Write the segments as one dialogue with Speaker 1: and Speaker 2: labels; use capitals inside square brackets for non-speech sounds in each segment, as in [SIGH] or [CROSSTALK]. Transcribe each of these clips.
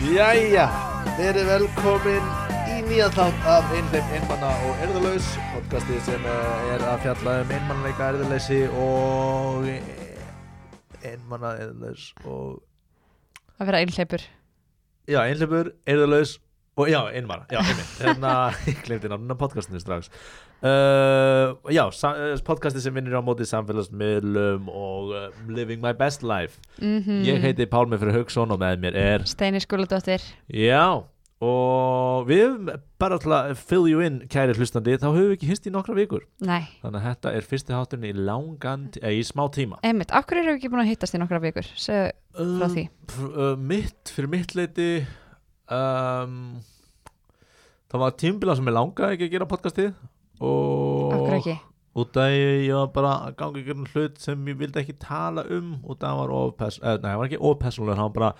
Speaker 1: Jæja, þeir eru velkomin í nýja þátt af einhleim einmanna og erðalaus podcastið sem eh, er að fjalla um einmannleika erðaleysi og einmanna erðalaus og
Speaker 2: að vera einhleipur
Speaker 1: já, einhleipur, erðalaus og já, einmanna, já, einmitt þannig að ég glemdi náttúrulega podcastinu strax uh, Já, sa- eh, podcastið sem vinnir á móti samfélagsmiðlum og uh, living my best life
Speaker 2: mm -hmm.
Speaker 1: Ég heiti Pálmi Fyrir Hauksson og með mér er
Speaker 2: Steini Skúladóttir
Speaker 1: Já, og við höfum bara til að fill you in, kæri hlustandi, þá höfum við ekki hist í nokkra vikur.
Speaker 2: Nei,
Speaker 1: Þannig að þetta er fyrsti hátturinn í langan, eða í smá tíma.
Speaker 2: einmitt, af hverju erum við ekki búin að hittast í nokkra vikur Segðu frá því
Speaker 1: Um, f- uh, mitt, fyrir mitt leiti, um, það var tímbila sem ég langaði ekki að gera podcastið. Og
Speaker 2: Af hverju ekki?
Speaker 1: út af ég ég var bara að ganga ykkur hlut sem ég vildi ekki tala um og það var ofpers, eh, nei, það var ekki ofpersonlega það var bara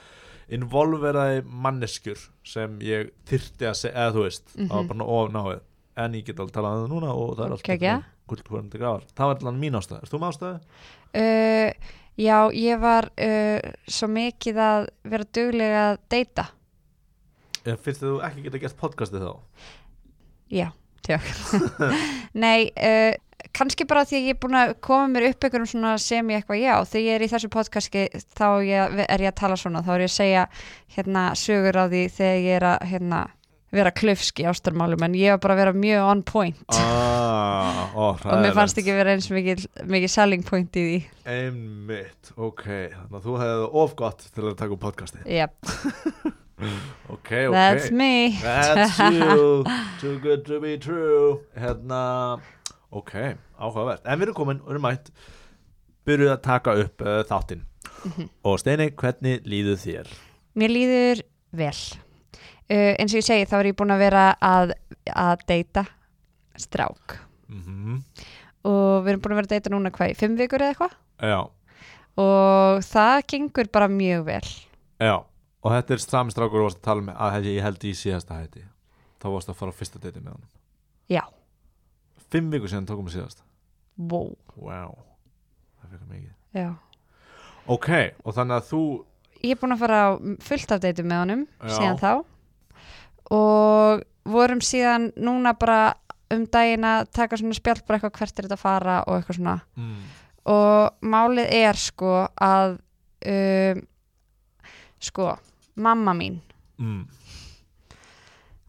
Speaker 1: involveraði manneskjur sem ég þyrti að segja, eða þú veist, það var
Speaker 2: Mhm.
Speaker 1: bara ofnáið en ég get alveg talað um það núna og það er allt
Speaker 2: Geggjað.
Speaker 1: gullkvörnandi grafar það var allan mín ástæða, erst þú með ástæða?
Speaker 2: Uh, já, ég var uh, svo mikið að vera dugleg að deyta
Speaker 1: Eða finnst þér þú ekki geta gert podcastið
Speaker 2: [LAUGHS]
Speaker 1: þá?
Speaker 2: Já, tjók Nei, uh, kannski bara því að ég er búin að koma mér upp einhverjum svona sem ég eitthvað já, þegar ég er í þessu podcasti þá ég, er ég að tala svona, þá er ég að segja hérna sögur á því þegar ég er að hérna, vera klöfsk í ástarmálum en ég var bara að vera mjög on point
Speaker 1: Ah, ó,
Speaker 2: og mér fannst ekki vera eins mikið, mikið selling point í því
Speaker 1: einmitt, ok, þannig að þú hefði of gott til að taka um podcastið
Speaker 2: yep,
Speaker 1: ok, ok
Speaker 2: that's me
Speaker 1: That's you, too good to be true Hérna, ok, áhugavert En við erum komin og erum mætt Byrjuð að taka upp uh, þáttinn Og Steini, hvernig líður þér?
Speaker 2: Mér líður vel. Uh, eins og ég segi, þá er ég búin að vera að, að deyta strák.
Speaker 1: Mm
Speaker 2: Og við erum búin að vera að deyta núna hvað, í fimm vikur eða eitthvað?
Speaker 1: Já,
Speaker 2: Og það gengur bara mjög vel.
Speaker 1: já Og þetta er sami strákur og varst að tala með að ég held í síðasta hætti Þá varst að fara á fyrsta deiti með honum
Speaker 2: Já,
Speaker 1: Fimm vikur síðan tókum við síðast
Speaker 2: wow.
Speaker 1: Wow, það fyrir mikið
Speaker 2: Já.
Speaker 1: Ok, og þannig að þú
Speaker 2: Ég er búin að fara á fullt af deytum með honum
Speaker 1: Já.
Speaker 2: síðan þá. Og vorum síðan núna bara um daginn að taka svona spjall bara eitthvað hvert er þetta að fara og eitthvað svona.
Speaker 1: mm,
Speaker 2: og málið er sko að um, sko, mamma mín
Speaker 1: mm,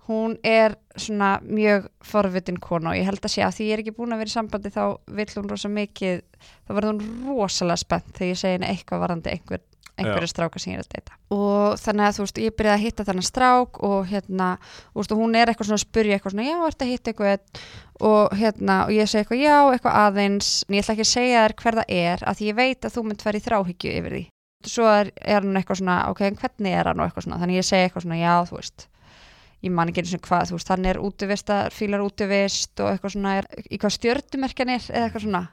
Speaker 2: hún er svona mjög forvitin kona og ég held að sé að því ég er ekki búin að vera í sambandi þá vill hún rosa mikið þá verður hún rosalega spennt þegar ég segi henni eitthvað varandi einhver, einhverja stráka sem ég er að deyta og þannig að þú veist, ég byrjaði að hitta þannig strák og hérna, þú veist, og hún er eitthvað svona að spyrja eitthvað svona, já, ertu að hitta eitthvað einn?" og hérna, og ég segi eitthvað já, eitthvað aðeins, en ég ætla ekki að segja þér hver það er, að því ég veit að þú mynd verið þráhyggju yfir því svo er, er hann eitthvað svona, ok, en hvernig er hann og eitthvað svona, þannig ég segi eitthvað svona, já, þú veist ég man ekki einu svona hvað, þú veist, hann er útivist að fílar útivist og eitthvað svona er, í hvað stjördumerkjan er eða eitthvað svona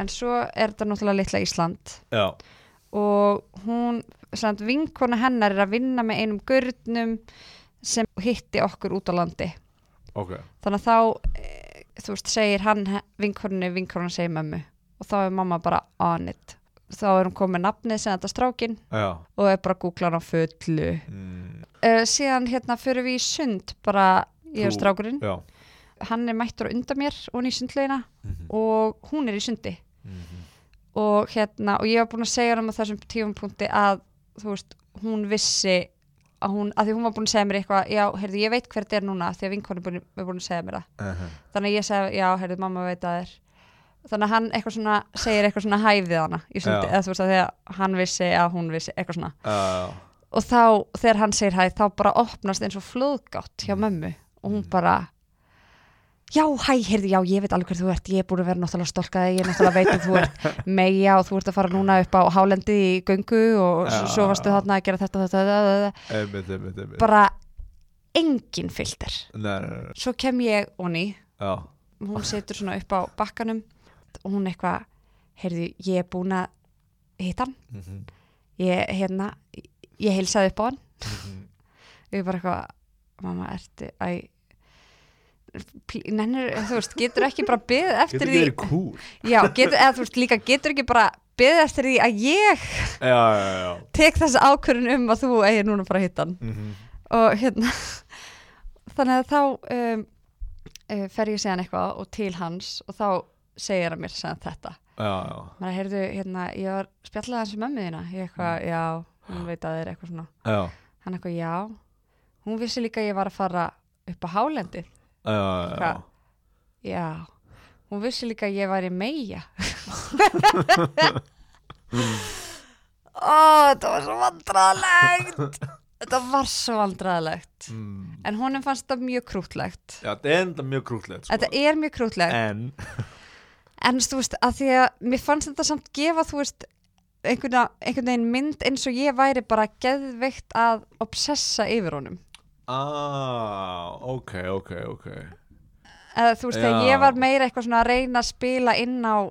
Speaker 2: en svo er þetta náttúrulega litla Ísland
Speaker 1: Já,
Speaker 2: og hún, samt vinkona hennar er að vinna með einum gurnum sem hitti okkur út á landi
Speaker 1: ok
Speaker 2: þannig að þá eh, þú veist, segir hann vinkonunni, vinkonan segir mömmu og þá er mamma bara on it þá er hún komið nafnið sem þetta strákin
Speaker 1: Já
Speaker 2: og er bara að googla hann á fullu
Speaker 1: mm,
Speaker 2: uh, síðan hérna fyrir við í sund bara ég og
Speaker 1: Þú-
Speaker 2: strákurinn
Speaker 1: Já
Speaker 2: hann er mættur að undan mér og hann í sundleina
Speaker 1: Mhm.
Speaker 2: og hún er í sundi
Speaker 1: Mhm.
Speaker 2: og hérna og ég var búin að segja hann á þessum tífumpunkti að þú veist, hún vissi að hún, að því hún var búin að segja mér eitthvað já, heyrðu, ég veit hver þetta er núna því að vinkonum búin, er búin að segja mér það
Speaker 1: Mhm.
Speaker 2: þannig að ég segi, já, heyrðu, mamma veit að það er þannig að hann eitthvað svona, segir eitthvað svona hæfið hana í sundi,
Speaker 1: Já.
Speaker 2: eða þú veist að því að hann vissi að hún vissi, eitthvað svona
Speaker 1: Já,
Speaker 2: og þá, þegar hann segir hæ, þá bara opnast eins og flóðgátt hjá mömmu og hún bara já, hæ, heyrðu, já, ég veit alveg hver þú ert ég er búin að vera náttúrulega stolkaði, ég er náttúrulega veit að þú ert meia og þú ert að fara núna upp á hálendið í göngu og
Speaker 1: Já.
Speaker 2: svo, svo varstu þarna að gera þetta, þetta, þetta, þetta.
Speaker 1: einmitt, einmitt, einmitt
Speaker 2: bara engin filter
Speaker 1: Nei, nei, nei,
Speaker 2: svo kem ég onni,
Speaker 1: já
Speaker 2: hún setur svona upp á bakkanum og hún eitthvað heyrðu, ég er búin að hitta hann ég, hérna, ég heilsaði upp á hann [LAUGHS] ég er bara eitthvað mamma, ertu, æ pl- nennir, þú veist, getur ekki bara beðið eftir
Speaker 1: Getur
Speaker 2: því
Speaker 1: ekki verið kúl
Speaker 2: já, getur, eða þú veist, líka getur ekki bara beðið eftir því að ég
Speaker 1: já, já, já, já.
Speaker 2: tek þessi ákvörðin um að þú eigir núna bara að hitta hann
Speaker 1: Mm
Speaker 2: og hérna [LAUGHS] þannig að þá um, uh, fer ég segja hann eitthvað og til hans og þá segir hann mér segja þetta
Speaker 1: já, já,
Speaker 2: maður heyrðu, hérna, ég var spjallað hans um mömmu þína, ég eitthvað, já hún veit að þér eitthvað svona,
Speaker 1: já,
Speaker 2: hann eitthvað, já hún vissi líka að ég var að fara upp á hálendið,
Speaker 1: já, já, já.
Speaker 2: Hvað? já hún vissi líka að ég var í meia [LAUGHS] ó, þetta var svo vandræðalegt þetta var svo vandræðalegt
Speaker 1: Mm.
Speaker 2: en honum fannst þetta mjög krútlegt
Speaker 1: já, þetta er enda mjög krútlegt sko.
Speaker 2: þetta er mjög krútlegt
Speaker 1: en,
Speaker 2: En þú veist, að því að mér fannst þetta samt gefa, þú veist, einhverna, einhvern veginn mynd eins og ég væri bara geðveikt að obsessa yfir honum.
Speaker 1: ah, ok, ok, ok
Speaker 2: Eða þú veist, þegar
Speaker 1: Já.
Speaker 2: ég var meira eitthvað svona að reyna að spila inn á,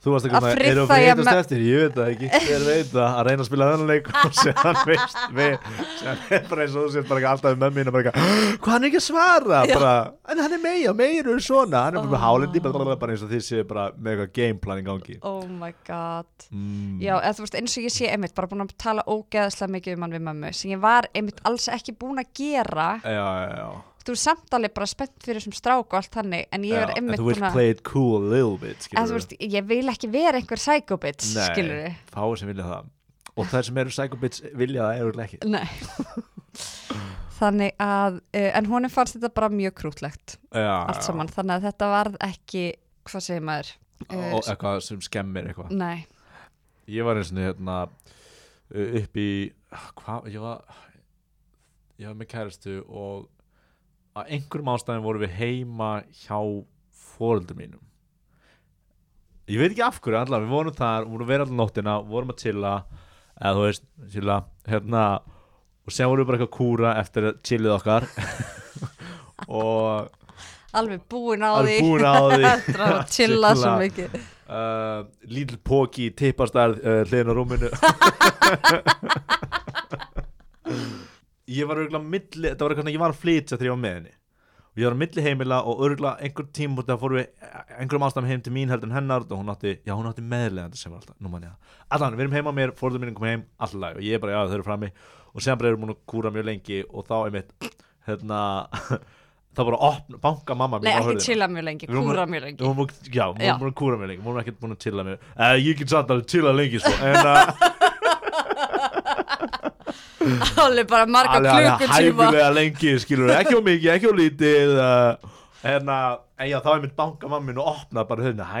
Speaker 1: Þú varst
Speaker 2: Að
Speaker 1: eitthvað svona,
Speaker 2: friða
Speaker 1: erum við að
Speaker 2: ég
Speaker 1: hittast
Speaker 2: me-
Speaker 1: eftir? Ég veit það ekki, ég veit það að reyna að spila þennan leik og séðan veist við, séðan er bara eins og þú sétt bara eitthvað alltaf með mömmu mín og bara eitthvað, hvað hann er ekki að svara bara, en hann er meira, meira er svona hann er bara með
Speaker 2: Ó.
Speaker 1: hálindi, bara, bara, bara eins og þið séu bara með eitthvað gameplan í gangi
Speaker 2: oh my god.
Speaker 1: mm.
Speaker 2: Já, eða þú veist, eins og ég sé einmitt, bara búin að tala ógeðslega mikið um hann við mömmu, sem ég var einmitt alls ekki búin að gera.
Speaker 1: já, já, já,
Speaker 2: Þú veist, samtalið bara spennt fyrir þessum strák og allt þannig, en ég
Speaker 1: Já,
Speaker 2: er
Speaker 1: en
Speaker 2: einmitt
Speaker 1: þú vilt
Speaker 2: búin að...
Speaker 1: play it cool a little bit
Speaker 2: En þú
Speaker 1: skilurðu.
Speaker 2: veist, ég vil ekki vera einhver psychobitch, skilur
Speaker 1: Nei, fáið sem vilja það og þær sem eru psychobits vilja það eru ekki
Speaker 2: Nei [LAUGHS] Þannig að, uh, en honum fannst þetta bara mjög krútlegt
Speaker 1: já,
Speaker 2: allt saman, þannig að þetta varð ekki, hvað segir maður? Uh,
Speaker 1: og eitthvað sem skemmir eitthvað
Speaker 2: Nei,
Speaker 1: ég var eins og hérna uh, upp í hva, ég var ég var með kæristu og að einhverjum ástæðum vorum við heima hjá fóreldum mínum ég veit ekki af hverju allavega, við vorum þar, vorum að vera allan nóttina vorum að chilla eða þú veist, chilla, hérna og sem vorum við bara eitthvað að kúra eftir chillið
Speaker 2: [LAUGHS]
Speaker 1: okkar og
Speaker 2: alveg búin á því
Speaker 1: alveg búin á
Speaker 2: [LAUGHS]
Speaker 1: því
Speaker 2: Eftir að chilla svo mikið
Speaker 1: uh, lítil póki í tippastarð uh, hliðin á rúminu [LAUGHS] ég var örgulega milli, þetta var eitthvað ég var að flytja þegar ég var með henni og ég var á milli heimila og örgulega einhver tím og það fórum við einhverjum ástæðum heim til mín heldur en hennar og hún átti, já hún átti meðlegandi sem var alltaf, nú man ég það allan, við erum heima mér, fórðum mínum kom heim, alltaf læg og ég bara, já þau eru frammi og sem bara erum búin að kúra mjög lengi og þá einmitt hérna, [LAUGHS] þá bara opna, banka mamma mín
Speaker 2: Nei,
Speaker 1: á
Speaker 2: ekki
Speaker 1: hurðina.
Speaker 2: chilla mjög lengi,
Speaker 1: Við vorum-
Speaker 2: kúra mjög lengi [LAUGHS]
Speaker 1: Hún var, já, hún
Speaker 2: Já.
Speaker 1: var búin að kúra mig lengi, hún var ekkert búin að chilla mig uh, Ég get samt að chilla lengi svo
Speaker 2: [LAUGHS]
Speaker 1: En eh, að
Speaker 2: Alveg bara marga
Speaker 1: alveg- alveg
Speaker 2: klukkutíma
Speaker 1: hæfilega lengi, skilur Ekki á mikið, ekki á lítið uh, En að, en já, þá er mitt banka mamma mín og opnaði bara höfðinu Hæ,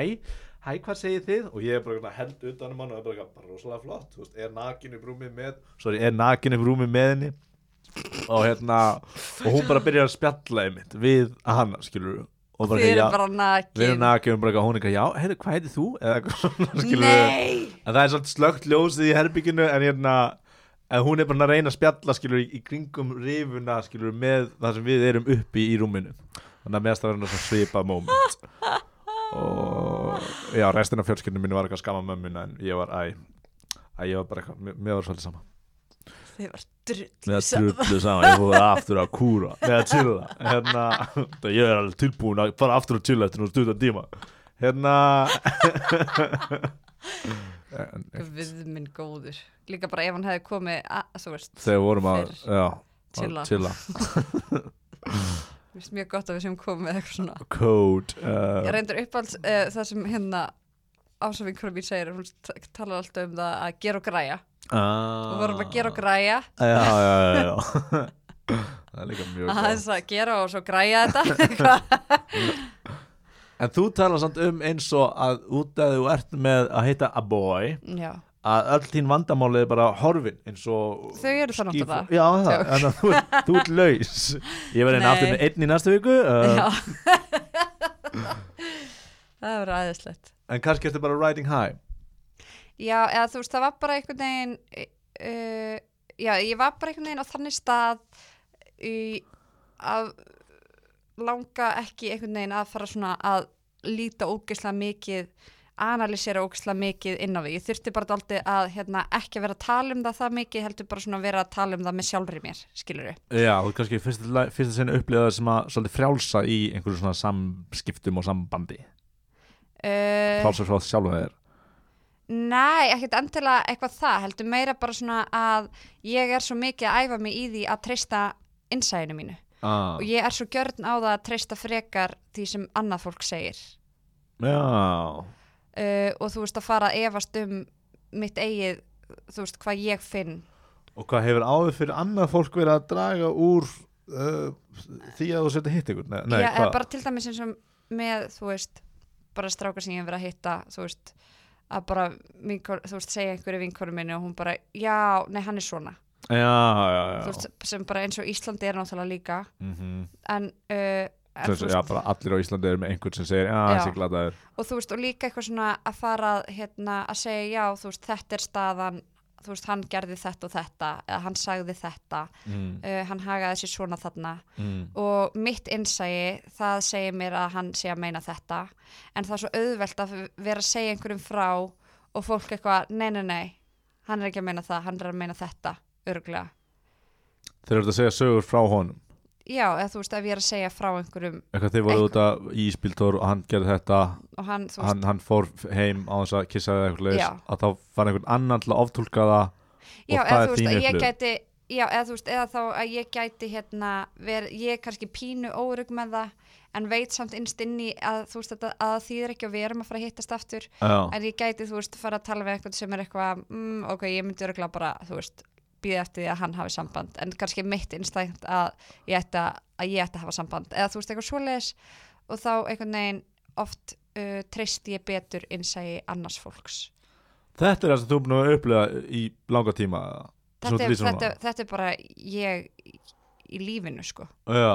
Speaker 1: hæ, hvað segir þið? Og ég er bara svona held utan um hann og er bara, eitthvað, bara rosalega flott Þú veist, er nakin upp rúmið með Sorry, er nakin upp rúmið með henni Og hérna, og hún bara byrjar að spjalla einmitt Við hana, skilur Og
Speaker 2: Þið
Speaker 1: já,
Speaker 2: eru bara
Speaker 1: Við erum
Speaker 2: nakin
Speaker 1: nakið um bara eitthvað, hún eitthvað, já, heyrðu, hvað heitir þú? Eða eitthvað svona, [LAUGHS] skilur
Speaker 2: Nei,
Speaker 1: En það er svolítið slögt ljósið í herbygginu en hérna, en hún er bara að reyna að spjalla, skilur, í, í kringum rifuna, skilur, með það sem við erum uppi í rúminu. Þannig að meðast að vera svona svipa moment. Og, já, restin af fjölskyldinu mínu var eitthvað að skamma mömmuna en ég var, æ, æ, ég var bara eitthvað, mér- mér var svolítið sama.
Speaker 2: þið var
Speaker 1: Mér
Speaker 2: drull
Speaker 1: var trullu sama, ég fór aftur að kúra, með að chilla. Hérna, það ég er alveg tilbúin að fara aftur að chilla eftir nú stuttan tíma. Hérna, en,
Speaker 2: Við minn góður Líka bara ef hann hefði komið, að, þú veist
Speaker 1: þegar við vorum að
Speaker 2: Fyrr.
Speaker 1: já, að
Speaker 2: Chilla.
Speaker 1: chilla.
Speaker 2: Mér finnst mjög gott að við séum komið með eitthvað svona
Speaker 1: [LAUGHS] code
Speaker 2: Ég
Speaker 1: uh,
Speaker 2: reyndur uppáhalds uh, það sem hérna ásafingurinn mín segir, hún t- talar alltaf um það að gera og græja.
Speaker 1: ah,
Speaker 2: Við vorum að gera og græja,
Speaker 1: já, já, já, já. [LAUGHS] það er líka mjög
Speaker 2: að
Speaker 1: góð
Speaker 2: þess að gera og svo græja
Speaker 1: [LAUGHS]
Speaker 2: þetta.
Speaker 1: en þú talar samt um eins og að út að þú ert með að heita a boy
Speaker 2: Já,
Speaker 1: að öll þín vandamáli er bara horfin eins og
Speaker 2: Þau eru það
Speaker 1: skíf-
Speaker 2: náttúrulega.
Speaker 1: já, það,
Speaker 2: Tjók.
Speaker 1: en að þú, ert- þú ert laus ég verði
Speaker 2: Nei.
Speaker 1: aftur með einn í næstu viku uh,
Speaker 2: já. það verður aðeinslegt.
Speaker 1: en kannski ertu bara riding high
Speaker 2: Já, eða þú veist, það var bara einhvern veginn, uh, já, ég var bara einhvern veginn á þannig stað í, að langa ekki einhvern veginn að fara svona að líta ógeðslega mikið analýsera ógeðslega mikið inn á því ég þurfti bara dálítið að hérna, ekki vera að tala um það það mikið, heldur bara svona að vera að tala um það með sjálfri mér, skilur við
Speaker 1: já, þú kannski fyrsta, fyrsta sinni upplýða sem að svolítið frjálsa í einhverju
Speaker 2: Eh.
Speaker 1: svona samskiptum og sambandi
Speaker 2: uh,
Speaker 1: frjálsa frá sjálfa þér
Speaker 2: Nei, ekkert endilega eitthvað það, heldur meira bara svona að ég er svo mikið að æfa mig í því að treysta innsæðinu mínu
Speaker 1: ah,
Speaker 2: og ég er svo gjörn á það að treysta frekar því sem annað fólk segir
Speaker 1: já,
Speaker 2: uh, og þú veist að fara að efast um mitt eigið, þú veist hvað ég finn
Speaker 1: og hvað hefur áður fyrir annað fólk verið að draga úr uh, því að þú setja hitt ykkur nei, nei
Speaker 2: Já, eða
Speaker 1: hvað?
Speaker 2: bara til dæmis eins og með, þú veist, bara stráka sem ég hef verið að hitta, þú veist, að bara, vinkor, þú veist, segja einhverju vinkonum minni og hún bara, já, nei, hann er svona,
Speaker 1: já, já,
Speaker 2: þú
Speaker 1: já.
Speaker 2: veist, sem bara eins og Íslandi er náttúrulega líka,
Speaker 1: Mm -hmm.
Speaker 2: en, uh, en
Speaker 1: Þessu,
Speaker 2: þú
Speaker 1: já,
Speaker 2: veist,
Speaker 1: bara allir á Íslandi eru með einhvern sem segir já,
Speaker 2: Já.
Speaker 1: þessi glataður
Speaker 2: og þú veist, og líka eitthvað svona að fara, að, hérna, að segja, já, þú veist, þetta er staðan, þú veist, hann gerði þetta og þetta, eða hann sagði þetta,
Speaker 1: mm,
Speaker 2: uh, hann hagaði sér svona þarna,
Speaker 1: mm.
Speaker 2: og mitt innsæi það segir mér að hann sé að meina þetta en það er svo auðvelt að vera að segja einhverjum frá og fólk eitthvað, nei, nei, nei hann er ekki að meina það, hann er að meina þetta örgulega,
Speaker 1: Þeir eru að segja sögur frá honum
Speaker 2: já, eða þú veist ef ég er að segja frá einhverjum
Speaker 1: eitthvað þið voru
Speaker 2: Eitthvað.
Speaker 1: út í spiltór og hann gerði þetta
Speaker 2: og hann, þú veist,
Speaker 1: hann, hann fór heim á þess að kissa eða eitthvað leis
Speaker 2: Já.
Speaker 1: að þá fann einhvern annan til að oftúlka það og
Speaker 2: já,
Speaker 1: það
Speaker 2: eða
Speaker 1: er
Speaker 2: þú
Speaker 1: þín
Speaker 2: veist að ég
Speaker 1: upplifun.
Speaker 2: gæti já, eða þú veist, eða þá að ég gæti hérna, ver, ég er kannski pínu órug með það, en veit samt innst inn í að þú veist, að, að það þýðir ekki og við erum að fara að hittast aftur
Speaker 1: já,
Speaker 2: en ég gæti, þú veist, fara að tala við einhvern sem er eitthvað, mm, ok, ég myndi örgulega bara, þú veist, býða eftir því að hann hafi samband, en kannski mitt innstækt að ég ætti að, að ég ætti að hafa samband, eða þú veist, eitthvað svoleiðis og þá einhvern veginn oft uh, treyst ég betur innsægi annars fólks.
Speaker 1: þetta er það sem þú er búin að upplifa í langa tíma sem
Speaker 2: Þetta
Speaker 1: þú
Speaker 2: er,
Speaker 1: lýsir núna.
Speaker 2: þetta, þetta er bara ég í lífinu, sko.
Speaker 1: já,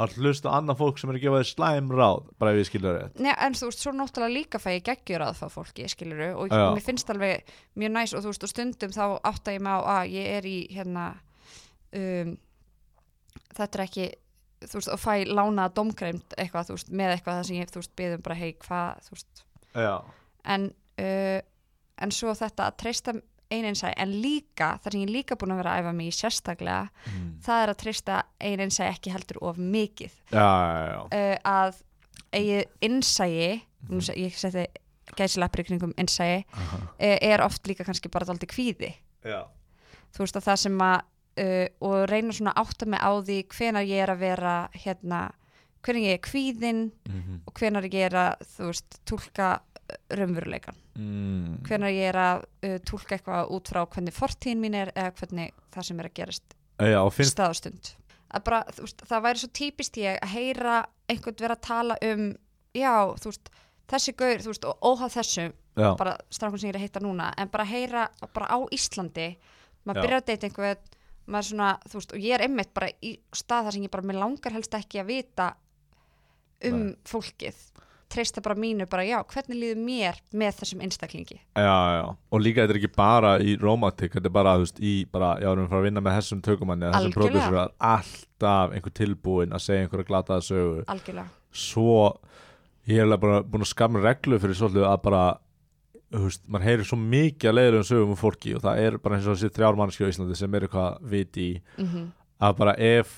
Speaker 1: að hlusta á annað fólk sem er að gefa þér slæm ráð bara ef ég skilja rétt
Speaker 2: Nei, en þú veist, svo náttúrulega líka fæ ég geggjur að það fólki, skiluru, og
Speaker 1: Já.
Speaker 2: mér finnst alveg mjög næs og þú veist, og stundum þá átta ég mig á að ég er í, hérna, um, þetta er ekki, þú veist, og fæ lánaða domgreimt eitthvað, þú veist, með eitthvað það sem ég, þú veist, byðum bara, hei, hvað, þú veist,
Speaker 1: já,
Speaker 2: en, uh, en svo þetta að treysta eininsæ, en líka, það sem ég er líka búin að vera að æfa mig í sérstaklega,
Speaker 1: mm.
Speaker 2: það er að treysta eininsæ ekki heldur of mikið
Speaker 1: já, já, já.
Speaker 2: uh, að eigið innsæi nú, se- ég seti gæsilappir í kringum innsæi uh, er oft líka kannski bara daldi kvíði
Speaker 1: já.
Speaker 2: þú veist að það sem að uh, og reyna svona að átta mig á því hvenar ég er að vera hérna hvenar ég er kvíðin
Speaker 1: Mhm.
Speaker 2: og hvenar ég er að þú veist túlka uh, raunveruleikan
Speaker 1: Mm.
Speaker 2: hvenar ég er að uh, túlka eitthvað út frá hvernig fortíðin mín er eða hvernig það sem er að gerast
Speaker 1: já, og
Speaker 2: finnst...
Speaker 1: finnst
Speaker 2: staðastund að bara, þú veist, það væri svo típist ég að heyra einhvern vera að tala um já, þú veist, þessi gaur þú veist, og óhaf þessu,
Speaker 1: já,
Speaker 2: bara strafnum sem ég er að heita núna, en bara heyra bara á Íslandi,
Speaker 1: Já.
Speaker 2: maður byrjar að deyta einhvern, maður svona, þú veist og ég er einmitt bara í stað þar sem ég bara mér langar helst ekki að vita um fólkið treysta bara mínu, bara já, hvernig líður mér með þessum einstaklingi
Speaker 1: já, já, og líka þetta er ekki bara í romantik, þetta er bara, þú veist, í bara, já, erum við að fara að vinna með þessum tökumanni eða þessum
Speaker 2: Algjörlega.
Speaker 1: pródusur alltaf einhver tilbúin að segja einhverja glataða sögu
Speaker 2: algjörlega,
Speaker 1: svo ég hef bara búin að skamra reglu fyrir svolítið að bara þú veist, mann heyrir svo mikið að leiðilegum sögum um fólki og það er bara eins og þessi þrjár mannskja á Íslandi sem er eitthvað viti í
Speaker 2: mm -hmm,
Speaker 1: að bara ef,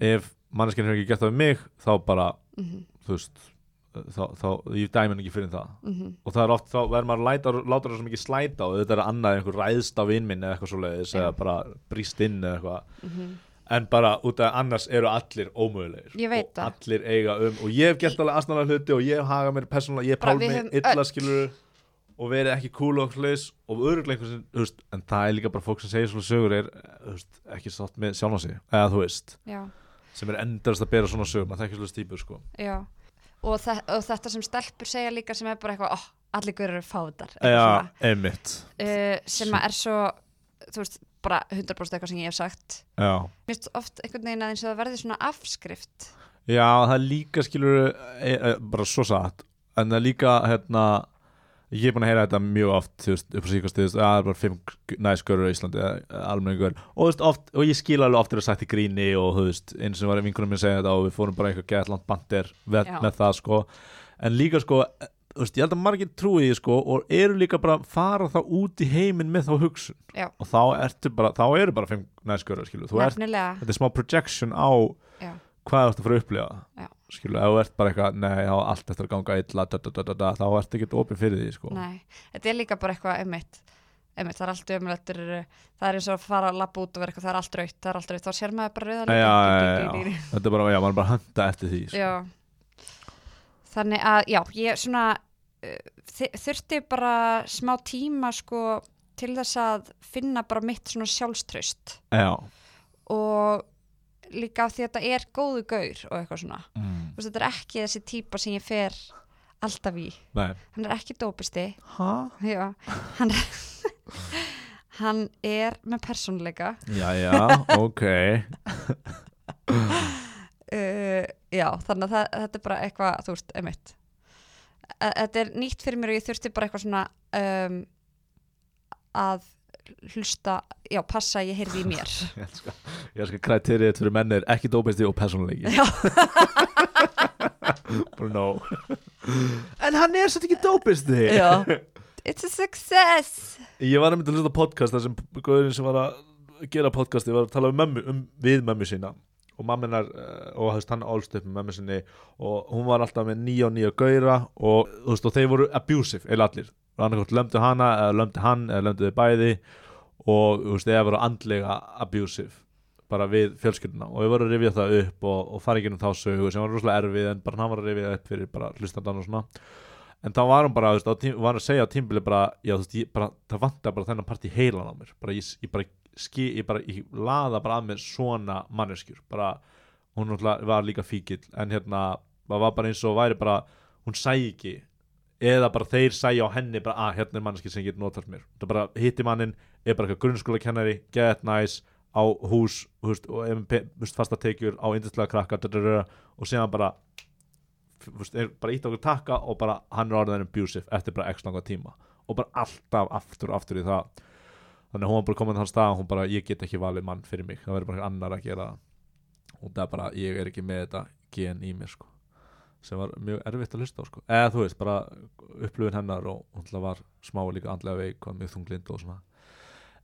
Speaker 1: ef mannskjarnir hefur ekki gett það við mig þá bara,
Speaker 2: mm -hmm,
Speaker 1: þú veist þá, þá ég dæmi hann ekki fyrir það
Speaker 2: Mhm.
Speaker 1: og það er oft, þá verður maður að læta, láta það svo mikið slæta og þetta er annað einhver ræðst á vinn minn eða eitthvað svoleiðis eða bara brýst inn eða eitthvað en bara út af annars eru allir ómögulegir
Speaker 2: Mhm. Ég veit
Speaker 1: og
Speaker 2: það.
Speaker 1: allir eiga um og ég hef gert alveg asnalega hluti og ég hef hagað mér persónulega, ég hef
Speaker 2: Bara
Speaker 1: pálmi
Speaker 2: við höfum
Speaker 1: illa
Speaker 2: öll.
Speaker 1: skilur og verið ekki cool og hlust og örugglega einhver sem, þú veist, en það er líka bara fólk sem segir svona sögur er, þú veist, ekki sátt með sjálf á sig, eða þú veist
Speaker 2: já
Speaker 1: sem er endast að bera svona sögum, að það er ekki slúst típur sko.
Speaker 2: Já, og, þe og þetta sem stelpur segja líka sem er bara eitthvað, oh, allir görur eru fáðar
Speaker 1: Já, einmitt
Speaker 2: uh, sem að er svo þú veist, bara 100% eitthvað sem ég hef sagt
Speaker 1: Já
Speaker 2: Mér finnst oft einhvern veginn að eins og það verði svona afskrift
Speaker 1: Já, það er líka skilur e, e, bara svo satt en það er líka hérna ég er búin að heyra þetta mjög oft þú veist, upp á síkast, þú veist, að það er bara fimm næskörur í Íslandi, almenningur og, þú veist, oft, og ég skil alveg oft er það sagt í gríni og þú veist, eins og var vinkunum minn að segja þetta og við fórum bara eitthvað gett langt bandir með,
Speaker 2: Já.
Speaker 1: með það sko, en líka sko e, þú veist, ég held að margir trúi því sko og eru líka bara að fara þá út í heiminn með þá hugsun
Speaker 2: Já.
Speaker 1: og þá ertu bara, þá eru bara fimm næskörur skilur, þú ert,
Speaker 2: nefnilega,
Speaker 1: þetta er smá projection á
Speaker 2: já,
Speaker 1: hvað ertu að fara að upplifa
Speaker 2: Já.
Speaker 1: skilu, ef þú ert bara eitthvað, nei, þá á allt eftir að ganga illa da, da, da, da, da, þá ertu ekkert opið fyrir því sko.
Speaker 2: Nei, þetta er líka bara eitthvað einmitt, einmitt það er allt umlætt það er eins og að fara að labba út og vera eitthvað það er allt raut, það er allt raut, þá sér maður bara
Speaker 1: já,
Speaker 2: rauðan
Speaker 1: já, já, já. þetta er bara, já, maður er bara að handa eftir því sko.
Speaker 2: Já. Þannig að, já, ég svona uh, þi- þurfti bara smá tíma sko til þess að finna bara mitt svona sjálfströst
Speaker 1: já.
Speaker 2: og líka af því að þetta er góðu gaur og eitthvað svona.
Speaker 1: Mm.
Speaker 2: Þú veist, þetta er ekki þessi típa sem ég fer alltaf í.
Speaker 1: nei,
Speaker 2: Hann er ekki dópisti,
Speaker 1: hæ?
Speaker 2: já, hann er, [LAUGHS] hann er með persónleika.
Speaker 1: já, já, [LAUGHS] ok
Speaker 2: uh, já, þannig að það, þetta er bara eitthvað, þú veist, emitt þetta er nýtt fyrir mér og ég þurfti bara eitthvað svona um, að hlusta, já, passa að ég heyrði í
Speaker 1: [LAUGHS] ég
Speaker 2: mér
Speaker 1: elska, ég elska kriterið fyrir mennir, ekki dópisti og persónleiki
Speaker 2: Já.
Speaker 1: [LAUGHS] bara no en hann er svolítið ekki dópisti
Speaker 2: Já. it's a success
Speaker 1: Ég var að mynda að hlusta á podcast þar sem Guðurinn sem var að gera podcasti var að tala um mömmu, um, við mömmu sína og mamminar, og þú veist, hann álst upp með mömmu sinni og hún var alltaf með nýja og nýja gauðra og þú veist, og þeir voru abusive, eða allir, annarkort lömdu hana eða lömdu hann, eða lömdu þau bæði og þú veist, eða voru andlega abusive, bara við fjölskylduna og við voru að rifja það upp og, og fara ekki um þá sögu sem var rosalega erfið en bara hann var að rifja það upp fyrir bara hlustandan og svona en þá var hann bara, þú veist, á tím, var að segja á tímbili bara, já, þú veist, ég bara, það vantar bara þennan part í heilan á mér, bara ég, ég bara ski, ég bara, ég laða bara að mér svona manneskjur, bara hún náttúrulega var líka fíkil, en hérna það var bara eins og væri bara, hún sæi ekki eða bara þeir sæja á henni bara, að, hérna er manneskjur sem getur notast mér það bara hitti mannin, er bara eitthvað grunnskóla kennari, get nice, á hús þú veist, og ef pe- þú veist, fasta tekjur á yndislega krakka, dadadada, og síðan bara þú veist, er bara ítt okkur takka og bara hann er orðin abusive eftir bara x langa tíma og bara alltaf aftur og aftur í það þannig að hún var bara komin þann stað að hún bara ég get ekki valið mann fyrir mig, það verður bara einhver annar að gera það og það er bara, ég er ekki með þetta gen í mér sko sem var mjög erfitt að hlusta á sko eða þú veist, bara upplöfin hennar og hún náttúrulega var smá líka andlega veik og mjög þunglind og svona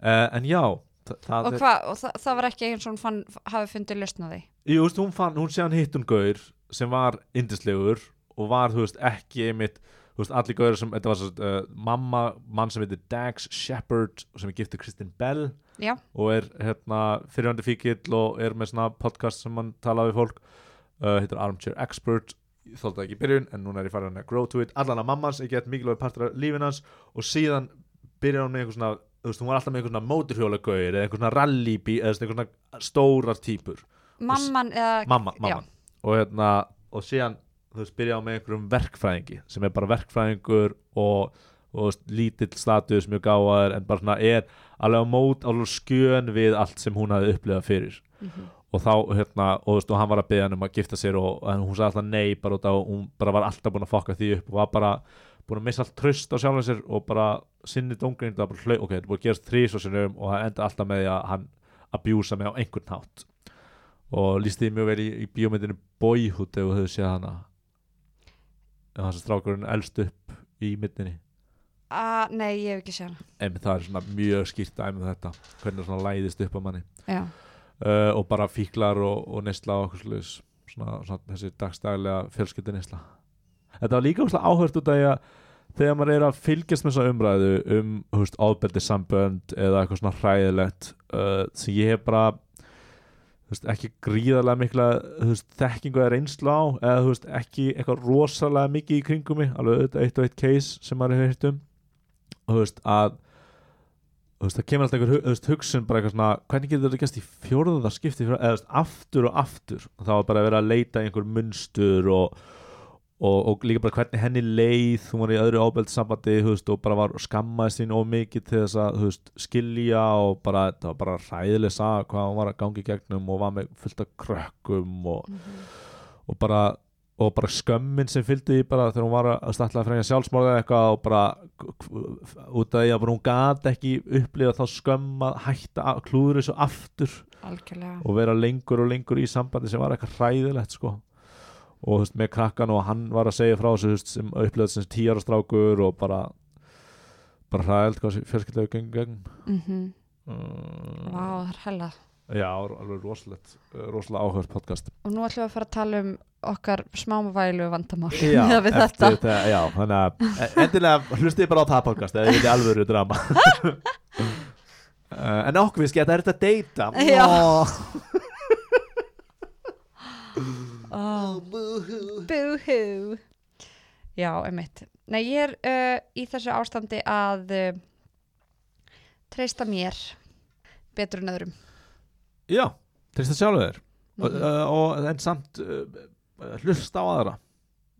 Speaker 1: uh, en já, þa það
Speaker 2: og, hva, og það, það var ekki eins og hún fann, hafi fundið lausna því
Speaker 1: Jú, veist, hún fann, hún sé hann hitt hún gaur sem var indislegur og var, þú veist, ekki einmitt, þú veist, allir gaur sem, þetta var svo, uh, mamma, mann sem heitir Dax Shepard og sem er giftið Kristin Bell
Speaker 2: já,
Speaker 1: og er, hérna, fyrirhandi fíkill og er með svona podcast sem hann tala við fólk, uh, heitir Armchair Expert, ég þóldi það ekki í byrjun en núna er ég farin að grow to it, allan að mamma hans er gett mikilvæg partur af lífin hans og síðan byrjar hún með einhver svona, þú veist, hún var alltaf með einhver svona móturhjólagaur eða einhver svona rallybí eða þú veist, einhver svona stórar típur
Speaker 2: mamman eða,
Speaker 1: mamma,
Speaker 2: Já.
Speaker 1: mamma. og hérna og síðan þú veist byrjaði með einhverjum verkfræðingi sem er bara verkfræðingur og, og þú veist, lítill status mjög gáðar en bara svona er alveg á mót alveg skjön við allt sem hún hafði upplifað fyrir og þá hérna og, þú veist, og hann var að byggja hann um að gifta sér og, en hún sagði alltaf nei bara út á hún bara var alltaf búin að fokka því upp og var bara búin að missa allt tröst á sjálfum sér og bara sinni dóngrind og bara hlaup ok, þetta er búin að gerast þrís og sinnum og það enda alltaf með því að hann abjúsa mig á einhvern hátt og líst því mjög vel í, í bíómyndinu Boyhood ef þú hefur séð hana en hans strákurinn elst upp í myndinni
Speaker 2: að, nei, ég hef ekki séð hana
Speaker 1: en það er svona mjög skýrt dæmi um þetta hvernig svona læðist upp á manni
Speaker 2: já,
Speaker 1: uh, og bara fíklar og, og nesla og okkur sluðis svona, svona þessi dagstælega fjölskyldi nesla þetta var líka óslega áhört út af því að þegar maður er að fylgjast með þessa umræðu um húst, ofbeldi sambönd eða eitthvað svona hræðilegt uh, sem ég hef bara húst, ekki gríðarlega mikla húst, þekkingu eða reynslu á eða húst, ekki eitthvað rosalega mikið í kringum mig alveg auðvitað eitt og eitt case sem maður hefur hýrt um húst, að þú veist, það kemur alltaf einhver hu- þú veist, hugsun bara eitthvað svona, hvernig getur þetta gæst í fjórða skipti, fjórða, eða þú veist, aftur og aftur og það var bara að vera að leita í einhver munstur og, og, og líka bara hvernig henni leið, hún var í öðru ábeld sambandi, þú veist, og bara var skammaði sín of mikið til þess að, þú veist, skilja og bara, það var bara ræðileg sag hvað hún var að gangi gegnum og var með fullt af krökkum og og bara og bara skömmin sem fylgdi því bara þegar hún var að statla að fremja sjálfsmorða eitthvað og bara út af því að bara hún gat ekki upplifa þá skömm að hætta að klúður þessu aftur
Speaker 2: algjörlega
Speaker 1: og vera lengur og lengur í sambandi sem var eitthvað hræðilegt sko og þú veist, með krakkan og hann var að segja frá þessu þú veist, sem upplifaði sem tíjar og strákur og bara bara hræðilegt hvað fjölskyldaðu gengum gegn
Speaker 2: mhm
Speaker 1: mm,
Speaker 2: Vá, það er hella
Speaker 1: já, alveg rosalegt eh, rosalega áhörð podcast
Speaker 2: og nú ætlum við að fara að tala um okkar smámavælu vandamál
Speaker 1: já,
Speaker 2: meðan [LAUGHS] við þetta
Speaker 1: eftir, þetta, já, þannig að eh, endilega hlustið bara á það podcast eða þetta er alvöru drama [LAUGHS] uh, en okkur við skemmt, það er þetta deyta
Speaker 2: Já.
Speaker 1: Ó.
Speaker 2: oh. Búhú Já, emitt Nei, ég er uh, í þessu ástandi að uh, treysta mér betur en öðrum
Speaker 1: já, treysta sjálfur þér og,
Speaker 2: Mhm.
Speaker 1: uh, og en samt uh, uh, hlusta á aðra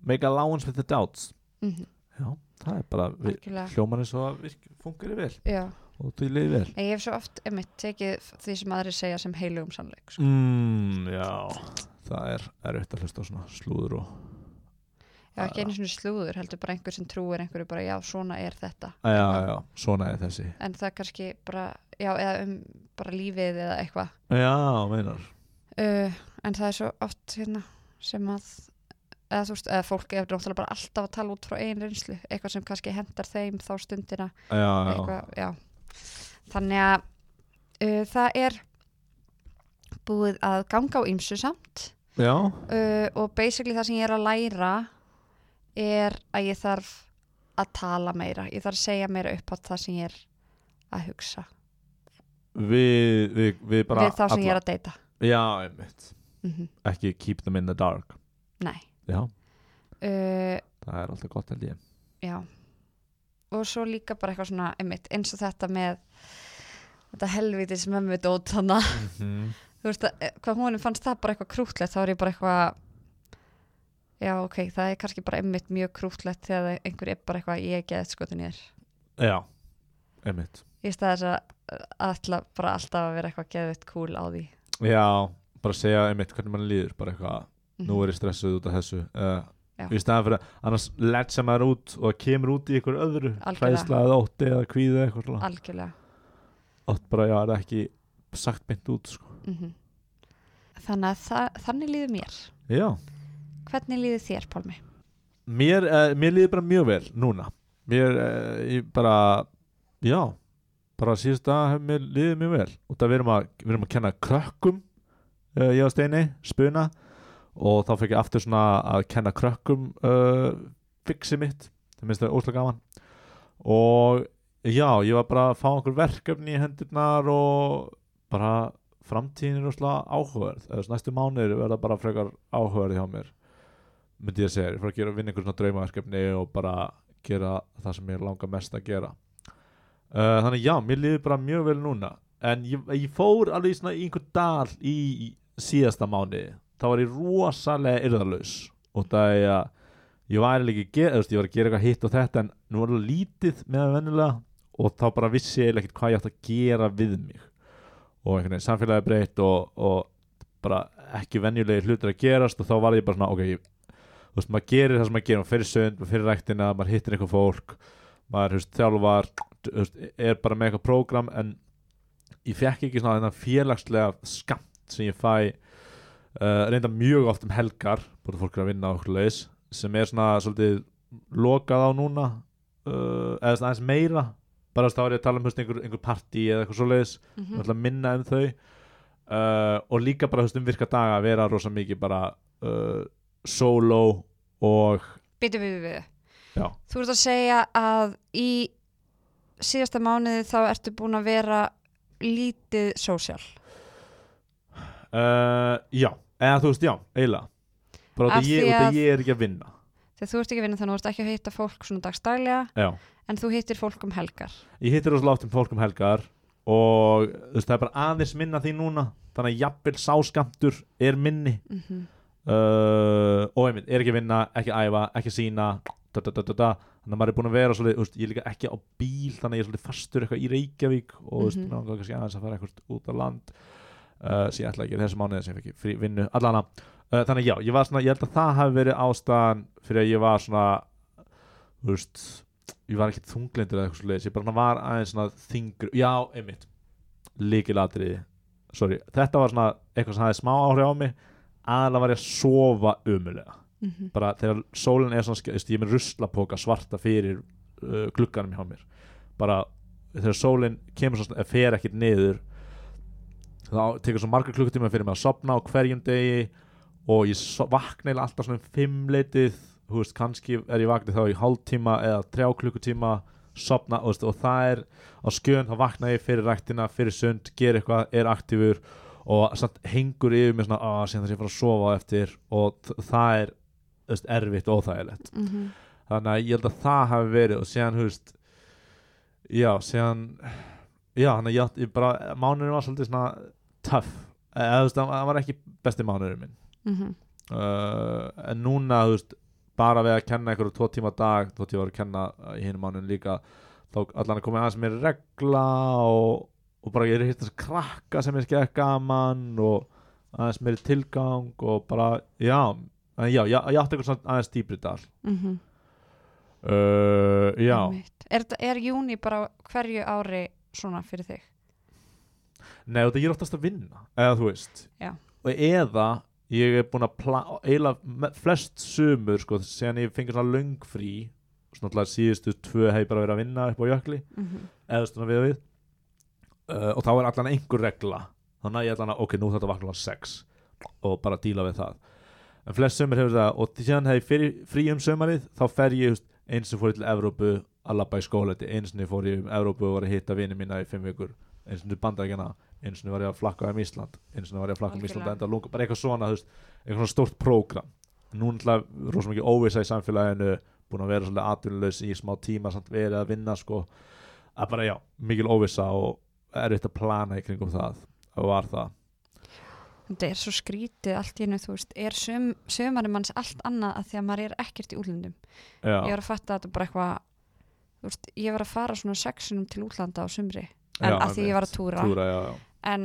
Speaker 1: make allowance with the doubts
Speaker 2: Mhm,
Speaker 1: já, það er bara við,
Speaker 2: Algjörlega
Speaker 1: hljóman eins og að virk, fungeri vel
Speaker 2: Já,
Speaker 1: og þú liði vel
Speaker 2: Nei, ég hef svo oft emitt tekið því sem aðri segja sem heilugum sannleik sko.
Speaker 1: mm, já, það er erfitt að hlusta á svona slúður og
Speaker 2: Já, ekki einu svona slúður, heldur bara einhver sem trúir einhverju bara, já, svona er þetta
Speaker 1: já, já, já, svona er þessi
Speaker 2: en það kannski bara, já, eða um bara lífið eða eitthvað
Speaker 1: já, meinar
Speaker 2: uh, en það er svo oft hérna sem að eða þú veist, eða fólk er náttúrulega bara alltaf að tala út frá einn reynslu, eitthvað sem kannski hendar þeim þá stundina,
Speaker 1: já, já,
Speaker 2: eitthvað, já þannig að uh, það er búið að ganga á ymsu samt
Speaker 1: já,
Speaker 2: uh, og basically það sem ég er að læra er að ég þarf að tala meira, ég þarf að segja meira upp á það sem ég er að hugsa
Speaker 1: við, við, við bara
Speaker 2: við þá sem ég er að deyta
Speaker 1: já, einmitt,
Speaker 2: mm
Speaker 1: ekki keep them in the dark
Speaker 2: nei
Speaker 1: já,
Speaker 2: uh,
Speaker 1: það er alltaf gott held ég
Speaker 2: já og svo líka bara eitthvað svona einmitt, eins og þetta með þetta helvitis mömmu dót hana þú veist að eh, hvað honum fannst það bara eitthvað krútlegt þá er ég bara eitthvað já ok, það er kannski bara einmitt mjög krútlegt þegar einhver er bara eitthvað ég ekki að skotu nýður
Speaker 1: já, einmitt
Speaker 2: í stað þess að alltaf, bara alltaf að vera eitthvað geðveitt cool á því
Speaker 1: já, bara segja einmitt hvernig mann líður bara eitthvað nú er ég stressuð út af þessu uh,
Speaker 2: Mhm. Já.
Speaker 1: í staðan fyrir að annars letsa maður út og kemur út í ykkur öðru
Speaker 2: Algjörlega.
Speaker 1: hlæðsla eða ótti eða kvíði eða eitthvað svona.
Speaker 2: algjörlega
Speaker 1: átt bara já, er það ekki sagt beint út sko.
Speaker 2: mm þannig að það, þannig líður mér
Speaker 1: já,
Speaker 2: hvernig líður þér Pálmi?
Speaker 1: mér, uh, mér líður bara mjög vel núna mér, uh, ég bara já, bara síðust að mér líður mjög vel og það við erum að, við erum að kenna krökkum uh, ég og Steini, spuna og þá fekk ég aftur svona að kenna krökkum uh, fixi mitt, það minnst það óslega gaman og já, ég var bara að fá einhver verkefni í hendurnar og bara framtíðin er óslega áhugaverð eða þessi næstu mánuðir verða bara frekar áhugaverð hjá mér myndi ég að segja, ég fór að gera vinna einhver svona draumaverkefni og bara gera það sem ég langar mest að gera uh, þannig já, mér líður bara mjög vel núna en ég, ég fór alveg í svona í einhver dal í síðasta mánu þá var ég rosalega yrðarlaus og það er að ég var eiginlega ekki að gera, þú veist, ég var að gera eitthvað hitt og þetta en nú var það lítið með það venjulega og þá bara vissi ég eiginlega ekkert hvað ég átt að gera við mig og einhvern veginn samfélagi breytt og, og bara ekki venjulegi hlutir að gerast og þá var ég bara svona, ok, ég þú veist, maður gerir það sem maður gerir, maður fyrir sund, maður fyrir ræktina, maður hittir eitthvað fólk, maður, þú veist, þjálfar, þú veist, er bara með eitthvað prógram, en ég fekk ekki svona þennan félagslega skamt sem ég fæ, uh, reynda mjög oft um helgar, búin fólk er að vinna á okkur leis, sem er svona svolítið lokað á núna, uh, eða svona aðeins meira, bara þess að þá er ég að tala um, þú veist, einhver, einhver partí eða eitthvað svoleiðis,
Speaker 2: Mm
Speaker 1: mm. ætla að minna um þau uh, og líka bara þú veist um virka daga að vera rosa mikið bara uh, solo og
Speaker 2: Bitu, bitu, bitu.
Speaker 1: já,
Speaker 2: Þú ert að segja að í síðasta mánuði þá ertu búin að vera lítið sósjál.
Speaker 1: uh, já eða þú veist, já, eiginlega bara
Speaker 2: Af
Speaker 1: út að ég,
Speaker 2: því
Speaker 1: út
Speaker 2: að-
Speaker 1: að ég er ekki að vinna
Speaker 2: Þegar þú ert ekki að vinna þannig að þú ert ekki að hitta fólk svona dagstælega
Speaker 1: já,
Speaker 2: en þú hittir fólk um helgar.
Speaker 1: ég hittir rosa látt um fólk um helgar og þú veist, það er bara aðeins minna því núna þannig að jafnvel sáskamtur er minni
Speaker 2: Mm -hmm.
Speaker 1: uh, og einmitt, er ekki að vinna, ekki að æfa ekki að sína da, da, da, da, da. þannig að maður er búin að vera svolítið, þú veist, ég er líka ekki á bíl þannig að ég er svolítið fastur eitthvað í Reykjavík og þú veist,
Speaker 2: Mhm.
Speaker 1: mér langar kannski aðeins að fara eitthvað út á land uh, sem ég ætla að gera þessu mánuði sem ég fekk frí vinnu, allana uh, þannig að já, ég var svona, ég held að það hafi verið ástæðan fyrir að ég var svona þú veist, ég var ekki þunglindur eða eitthvað svolítið, ég bara svona var aðeins svona þingri, já, einmitt líkilatriði, sorry þetta var svona eitthvað sem hafi smá áhrif á mig aðalega var ég að sofa umulega
Speaker 2: Mm -hmm.
Speaker 1: bara þegar sólinn er svona ske- þú veist, ég er með ruslapoka svarta fyrir uh, glugganum hjá mér bara þegar sólinn kemur svona eða fer ekkert niður þá tekur svo margar klukkutíma fyrir mig að sopna á hverjum degi og ég so- vakna eiginlega alltaf svona um fimm leitið þú veist, kannski er ég vaknað þá í hálftíma eða þrjá klukkutíma sopna og, veist, og það er á skjön þá vakna ég fyrir ræktina, fyrir sund ger eitthvað, er aktífur og samt hengur yfir mér svona að síðan þess að ég fara að sofa á eftir og þ- það er þú veist, erfitt og óþægilegt
Speaker 2: mm -hmm.
Speaker 1: þannig að ég held að það hafi verið og síðan, þú veist já, síðan já, þannig að ég, átt- ég bara, mánuðurinn var svolítið svona tough, eða þú veist, hann hann var ekki besti mánuðurinn minn
Speaker 2: Mhm.
Speaker 1: uh, en núna, þú veist bara við að kenna einhverju tvo tíma á dag þótt ég var að kenna uh, í hinum mánuðin líka þá allan að koma aðeins mér regla og, og bara ég er hitt þess að krakka sem ég skeið gaman og aðeins meiri tilgang og bara, já, en já, já ég átti einhvern svona aðeins dýpri dal Uh, já,
Speaker 2: Mhm. Einmitt. Er, þetta- er júni bara á hverju ári svona fyrir þig?
Speaker 1: nei þetta ég er oftast að vinna eða þú veist
Speaker 2: Já.
Speaker 1: og eða ég er búin að pla- eiginlega me- flest sumur sko, síðan ég fengi svona löngfrí svona alltaf síðustu tvö hef ég bara verið að vinna upp á jökli eða svona við og við uh, og þá er allan einhver regla þannig að ég allan að ok, nú þetta vakna á sex og bara díla við það en flest sömur hefur það og því síðan hef ég fyrir, frí um sömarið þá fer ég just, eins og fór ég til Evrópu að labba í skóleiti, eins og fór ég um Evrópu og var að hitta vini mína í fimm vikur eins og bandarækjana, eins og var ég að flakka um Ísland eins og var ég að flakka um Ísland
Speaker 2: Algjörlega.
Speaker 1: að enda lunga, bara eitthvað svona, þú veist, eitthvað svona stórt prógram nú náttúrulega rosa mikið óvisa í samfélaginu búin að vera svolítið atvinnulegs í smá tíma samt verið að vinna sko að bara já, mikil óvisa og erfitt að plana í kringum það og var það
Speaker 2: Þetta er svo skrítið allt í hennu, þú veist, er söm, sömarinn manns allt annað að því að maður er ekkert í útlöndum. Ég
Speaker 1: já,
Speaker 2: var að fatta að þetta er bara eitthvað, þú veist, ég var að fara svona sexinum til útlanda á sumri, en
Speaker 1: Já,
Speaker 2: að því ég var að túra,
Speaker 1: túra já, já,
Speaker 2: en,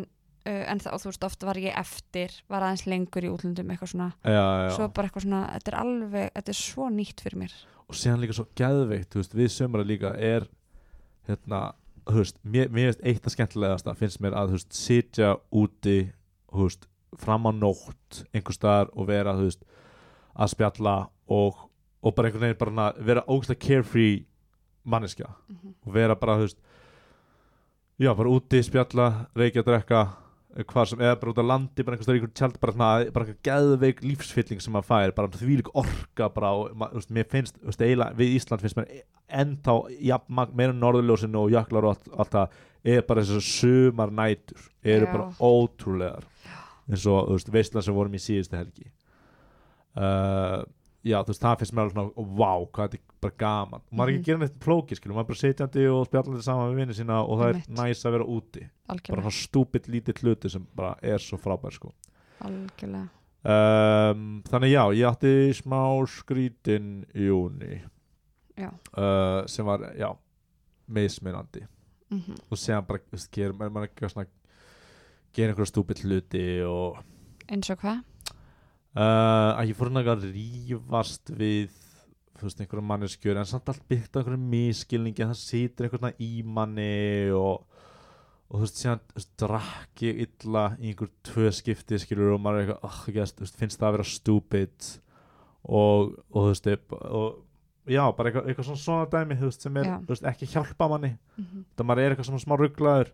Speaker 2: uh, en þá, þú veist, oft var ég eftir, var aðeins lengur í útlöndum, eitthvað svona,
Speaker 1: já, já.
Speaker 2: svo bara eitthvað svona, þetta er alveg, þetta er svo nýtt fyrir mér.
Speaker 1: og síðan líka svo geðveikt þú veist, við sömur líka er hérna, þú veist, mér, mér veist eitt að skemmtilegasta finnst mér að þú veist, sitja úti þú veist, fram á nótt einhvers staðar og vera þú veist, að spjalla og, og bara einhvern veginn bara na, vera ógæslega carefree manneskja og vera bara þú veist, já, bara úti spjalla, reykja að drekka eh, hvar sem, eða bara út á landi bara einhvers staðar í einhvern tjald, bara, svona, bara einhver geðveik lífsfylling sem maður fær, bara þvílík orka bara, og, ma- þú veist, mér finnst, þú veist, eiginlega við Ísland finnst mér ennþá ja, meira norðurljósinu og jaklar og allt, allt það, er bara þessar sumar nætur, eru
Speaker 2: Já.
Speaker 1: bara ótrúlegar eins og, þú veist, veistlan sem vorum í síðustu helgi uh, já, þú veist, það finnst mér alveg svona, wow, hvað þetta er bara gaman og maður er ekki
Speaker 2: Mhm.
Speaker 1: að gera neitt plóki, skilur, maður er bara sitjandi og spjallandi saman við vinni sína og það er
Speaker 2: Einmitt.
Speaker 1: næs að vera úti bara
Speaker 2: Algjörlega,
Speaker 1: svona stúpid lítið hluti sem bara er svo frábær sko
Speaker 2: algjörlega.
Speaker 1: um, þannig já, ég átti smá skrítin í júni
Speaker 2: Já.
Speaker 1: uh, sem var, já mismunandi
Speaker 2: Mm
Speaker 1: og séðan bara, þú veist, gerum, er maður ekki að svona gera einhverja stúpid hluti og
Speaker 2: Eins og hvað?
Speaker 1: uh, að ég fór hann að rífast við þú veist, einhverjum manneskjur en samt allt byggt á einhverjum miskilningi en það situr einhvern veginn í manni og, og þú veist, síðan þú veist, drakk ég illa í einhver tvö skipti skilur og maður er eitthvað oh, yes, veist, finnst það að vera stúpid og, og þú veist, ég- og, já, bara eitthvað, eitthvað svona, svona dæmi þú veist, sem er
Speaker 2: Já.
Speaker 1: þú veist, ekki að hjálpa manni
Speaker 2: Mm
Speaker 1: það maður er eitthvað svona smá rugglaður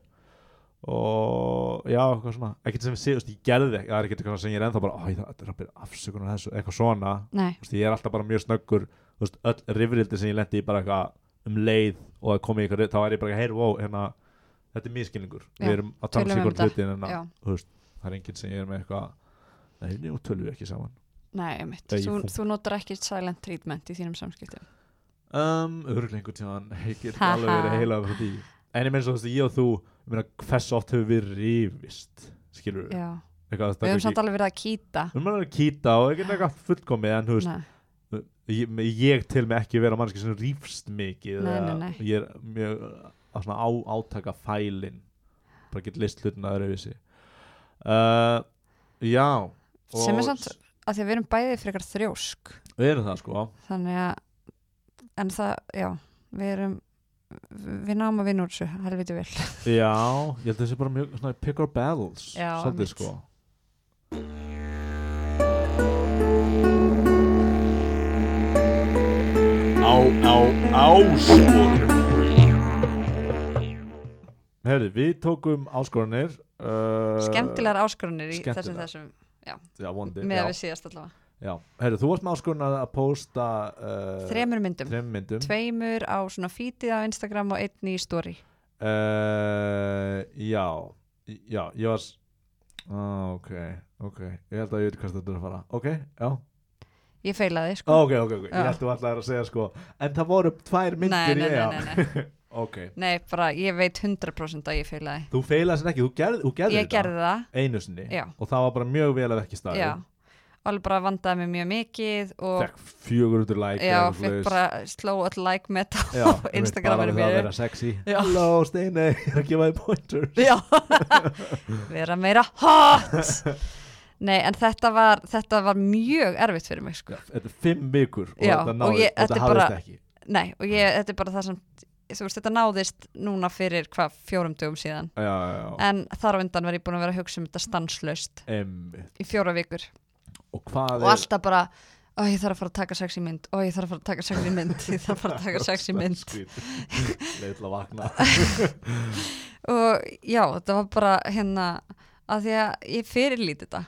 Speaker 1: og já, eitthvað svona ekkert sem við séu, þú veist, ég gerði ekki það er ekkert eitthvað sem ég er ennþá bara, "Æ, það þetta er að byrja afsökunar þessu, eitthvað svona,
Speaker 2: Nei,
Speaker 1: þú veist, ég er alltaf bara mjög snöggur, þú veist, öll rifrildi sem ég lendi í bara eitthvað um leið og það komið eitthvað, þá er ég bara, heyr, wow, hérna þetta er miskilningur,
Speaker 2: Já,
Speaker 1: við erum að tala
Speaker 2: tölum
Speaker 1: sig
Speaker 2: um
Speaker 1: hvort
Speaker 2: þetta.
Speaker 1: hlutin en að,
Speaker 2: já,
Speaker 1: þú veist, það er enginn sem ég er með eitthvað nei, nú tölum við ekki saman
Speaker 2: nei, einmitt.
Speaker 1: Nei, ég
Speaker 2: Þú,
Speaker 1: fú-
Speaker 2: þú notar ekki silent treatment í þínum samskiptum.
Speaker 1: um, örglega einhvern tíðan, [LAUGHS] ég get ekki
Speaker 2: Ha,
Speaker 1: alveg verið
Speaker 2: ha.
Speaker 1: heilað frá því, en ég meins þú veist, ég og þú ég meina, hversu oft hefur við rifist skilur við,
Speaker 2: Já,
Speaker 1: eitthvað,
Speaker 2: við
Speaker 1: það er
Speaker 2: höfum
Speaker 1: ekki,
Speaker 2: samt alveg verið að kýta.
Speaker 1: við erum alveg að kýta og ekki eitthvað fullkomið en þú veist,
Speaker 2: Nei,
Speaker 1: ég, ég til mig ekki vera mannski sem rýfst mikið
Speaker 2: Nei,
Speaker 1: eða-
Speaker 2: nei, nei.
Speaker 1: ég er mjög á svona á, átaka fælin bara get list hlutina öðruvísi uh, já og
Speaker 2: sem er samt að því að við erum bæði frekar þrjósk.
Speaker 1: við erum það sko
Speaker 2: Þannig að, en það, já, við erum, við náum að vinna úr þessu, helviti vel.
Speaker 1: já, ég held að þessi bara mjög svona pick our battles
Speaker 2: Já,
Speaker 1: svolítið,
Speaker 2: einmitt.
Speaker 1: sko
Speaker 3: á, á, áskorun
Speaker 1: Herri, við tókum áskoranir uh,
Speaker 2: skemmtilegar áskorunir í þessum
Speaker 1: skemmtilegar.
Speaker 2: þessum
Speaker 1: Já, vondi
Speaker 2: með
Speaker 1: já,
Speaker 2: að við síðast allavega
Speaker 1: já. Herri, þú varst með áskorun að að posta uh,
Speaker 2: þremur myndum,
Speaker 1: þrem myndum
Speaker 2: tveimur á svona feedið á Instagram og einn í story
Speaker 1: uh, Já í- Já, ég var s- ah, Ok, ok Ég held að ég veit hvað þetta er að fara Ok, já
Speaker 2: ég feilaði sko
Speaker 1: Ok, ok, ok,
Speaker 2: Já.
Speaker 1: ég held að þú ætlaðir að segja sko En það voru tvær myndir
Speaker 2: nei,
Speaker 1: í
Speaker 2: nei,
Speaker 1: EA.
Speaker 2: nei,
Speaker 1: [LAUGHS]
Speaker 2: nei, nei.
Speaker 1: Ok,
Speaker 2: nei, bara ég veit 100% að ég feilaði
Speaker 1: þú feilaði sér ekki, þú gerð, þú gerði
Speaker 2: ég gerði það,
Speaker 1: einu sinni
Speaker 2: Já.
Speaker 1: og það var bara mjög vel að verki staði
Speaker 2: já alveg bara vandaði mig mjög mikið og
Speaker 1: fekk 400 like
Speaker 2: já,
Speaker 1: eða eitthvað
Speaker 2: fekk
Speaker 1: svoleiðis.
Speaker 2: bara sló all like með það
Speaker 1: Já,
Speaker 2: [LAUGHS] á
Speaker 1: einmitt, bara
Speaker 2: Instagraminu
Speaker 1: við það að
Speaker 2: mér
Speaker 1: vera sexy
Speaker 2: Já.
Speaker 1: Halló Steini, [LAUGHS] ég er að gefa þið pointers
Speaker 2: [LAUGHS]
Speaker 1: [LAUGHS]
Speaker 2: Já, vera meira hot
Speaker 1: [LAUGHS]
Speaker 2: Nei, en þetta var, þetta var mjög erfitt fyrir mig sko.
Speaker 1: Þetta er fimm vikur og
Speaker 2: Já,
Speaker 1: þetta
Speaker 2: og
Speaker 1: náðist og
Speaker 2: ég- þetta
Speaker 1: þetta
Speaker 2: er bara-
Speaker 1: hafðist ekki
Speaker 2: Nei, og ég, þetta er bara það sem þú veist, þetta náðist núna fyrir hvað fjórum dögum síðan
Speaker 1: Já, já, já,
Speaker 2: en þar á undan var ég búin að vera að hugsa um þetta stanslaust
Speaker 1: einmitt
Speaker 2: í fjóra vikur
Speaker 1: Og hvað
Speaker 2: og
Speaker 1: er
Speaker 2: alltaf bara, ó ég þarf að fara að taka sex í mynd ó ég þarf að fara að taka sex í mynd ég þarf að fara að taka sex í mynd
Speaker 1: Leitla vakna
Speaker 2: og já, þetta var bara hérna að því að ég fyrirlít þetta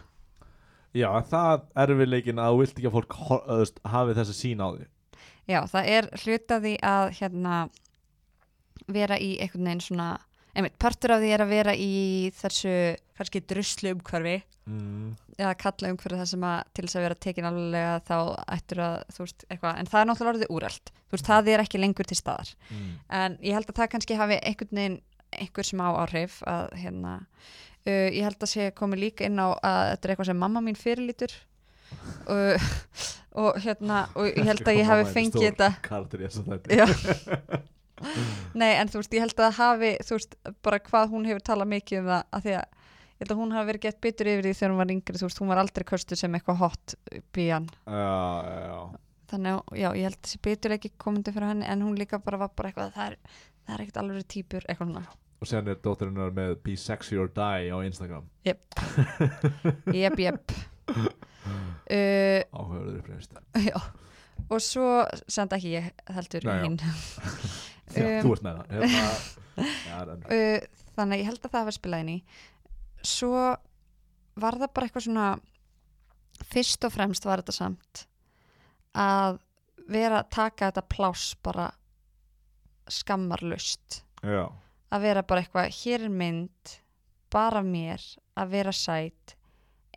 Speaker 1: Já, það er við leikin að þú vilt ekki að fólk hor- að þú veist, hafi þessa sín á því
Speaker 2: Já, það er hluti af því að hérna vera í einhvern veginn svona einmitt, partur af því er að vera í þessu kannski druslu umhverfi
Speaker 1: mm.
Speaker 2: eða kalla umhverfi það sem að til þess að vera tekin alveg þá ættur að, þú veist, eitthvað en það er náttúrulega orðið úrælt, þú veist, það er ekki lengur til staðar,
Speaker 1: Mm.
Speaker 2: en ég held að það kannski hafi einhvern veginn einhver smá áhrif að hérna uh, ég held að sé komið líka inn á að þetta er eitthvað sem mamma mín fyrirlítur og, [LAUGHS] og hérna og ég held að ég hafi fengið þetta
Speaker 1: Kardir ég svo þetta [LAUGHS]
Speaker 2: Já. Nei, en þú veist, ég held að það hafi, þú veist, bara hvað hún hefur talað mikið um það, að því að ég held að hún hafi verið gett bitur yfir því þegar hún var yngri, þú veist, hún var aldrei köstuð sem eitthvað hot bíjan.
Speaker 1: já, já
Speaker 2: Þannig að, já, ég held að þessi bitur ekki komandi fyrir henni, en hún líka bara var bara eitthvað, það er, það er ekkert alveg týpur, eitthvað svona.
Speaker 1: og sen er dóttirinnar með Be Sexy or Die á Instagram [LAUGHS]
Speaker 2: Jep. Jep, jep. Uh,
Speaker 1: áhverður uppreist um,
Speaker 2: já, og svo senda ekki ég heldur
Speaker 1: Nei, já.
Speaker 2: hinn. Um,
Speaker 1: þú ert með það Hérna, [LAUGHS] já, það er önnur.
Speaker 2: uh, þannig að ég held að það hafi spilað inn í svo var það bara eitthvað svona fyrst og fremst var þetta samt að vera að taka þetta pláss bara skammarlust
Speaker 1: já,
Speaker 2: að vera bara eitthvað, hér er mynd bara af mér, að vera sæt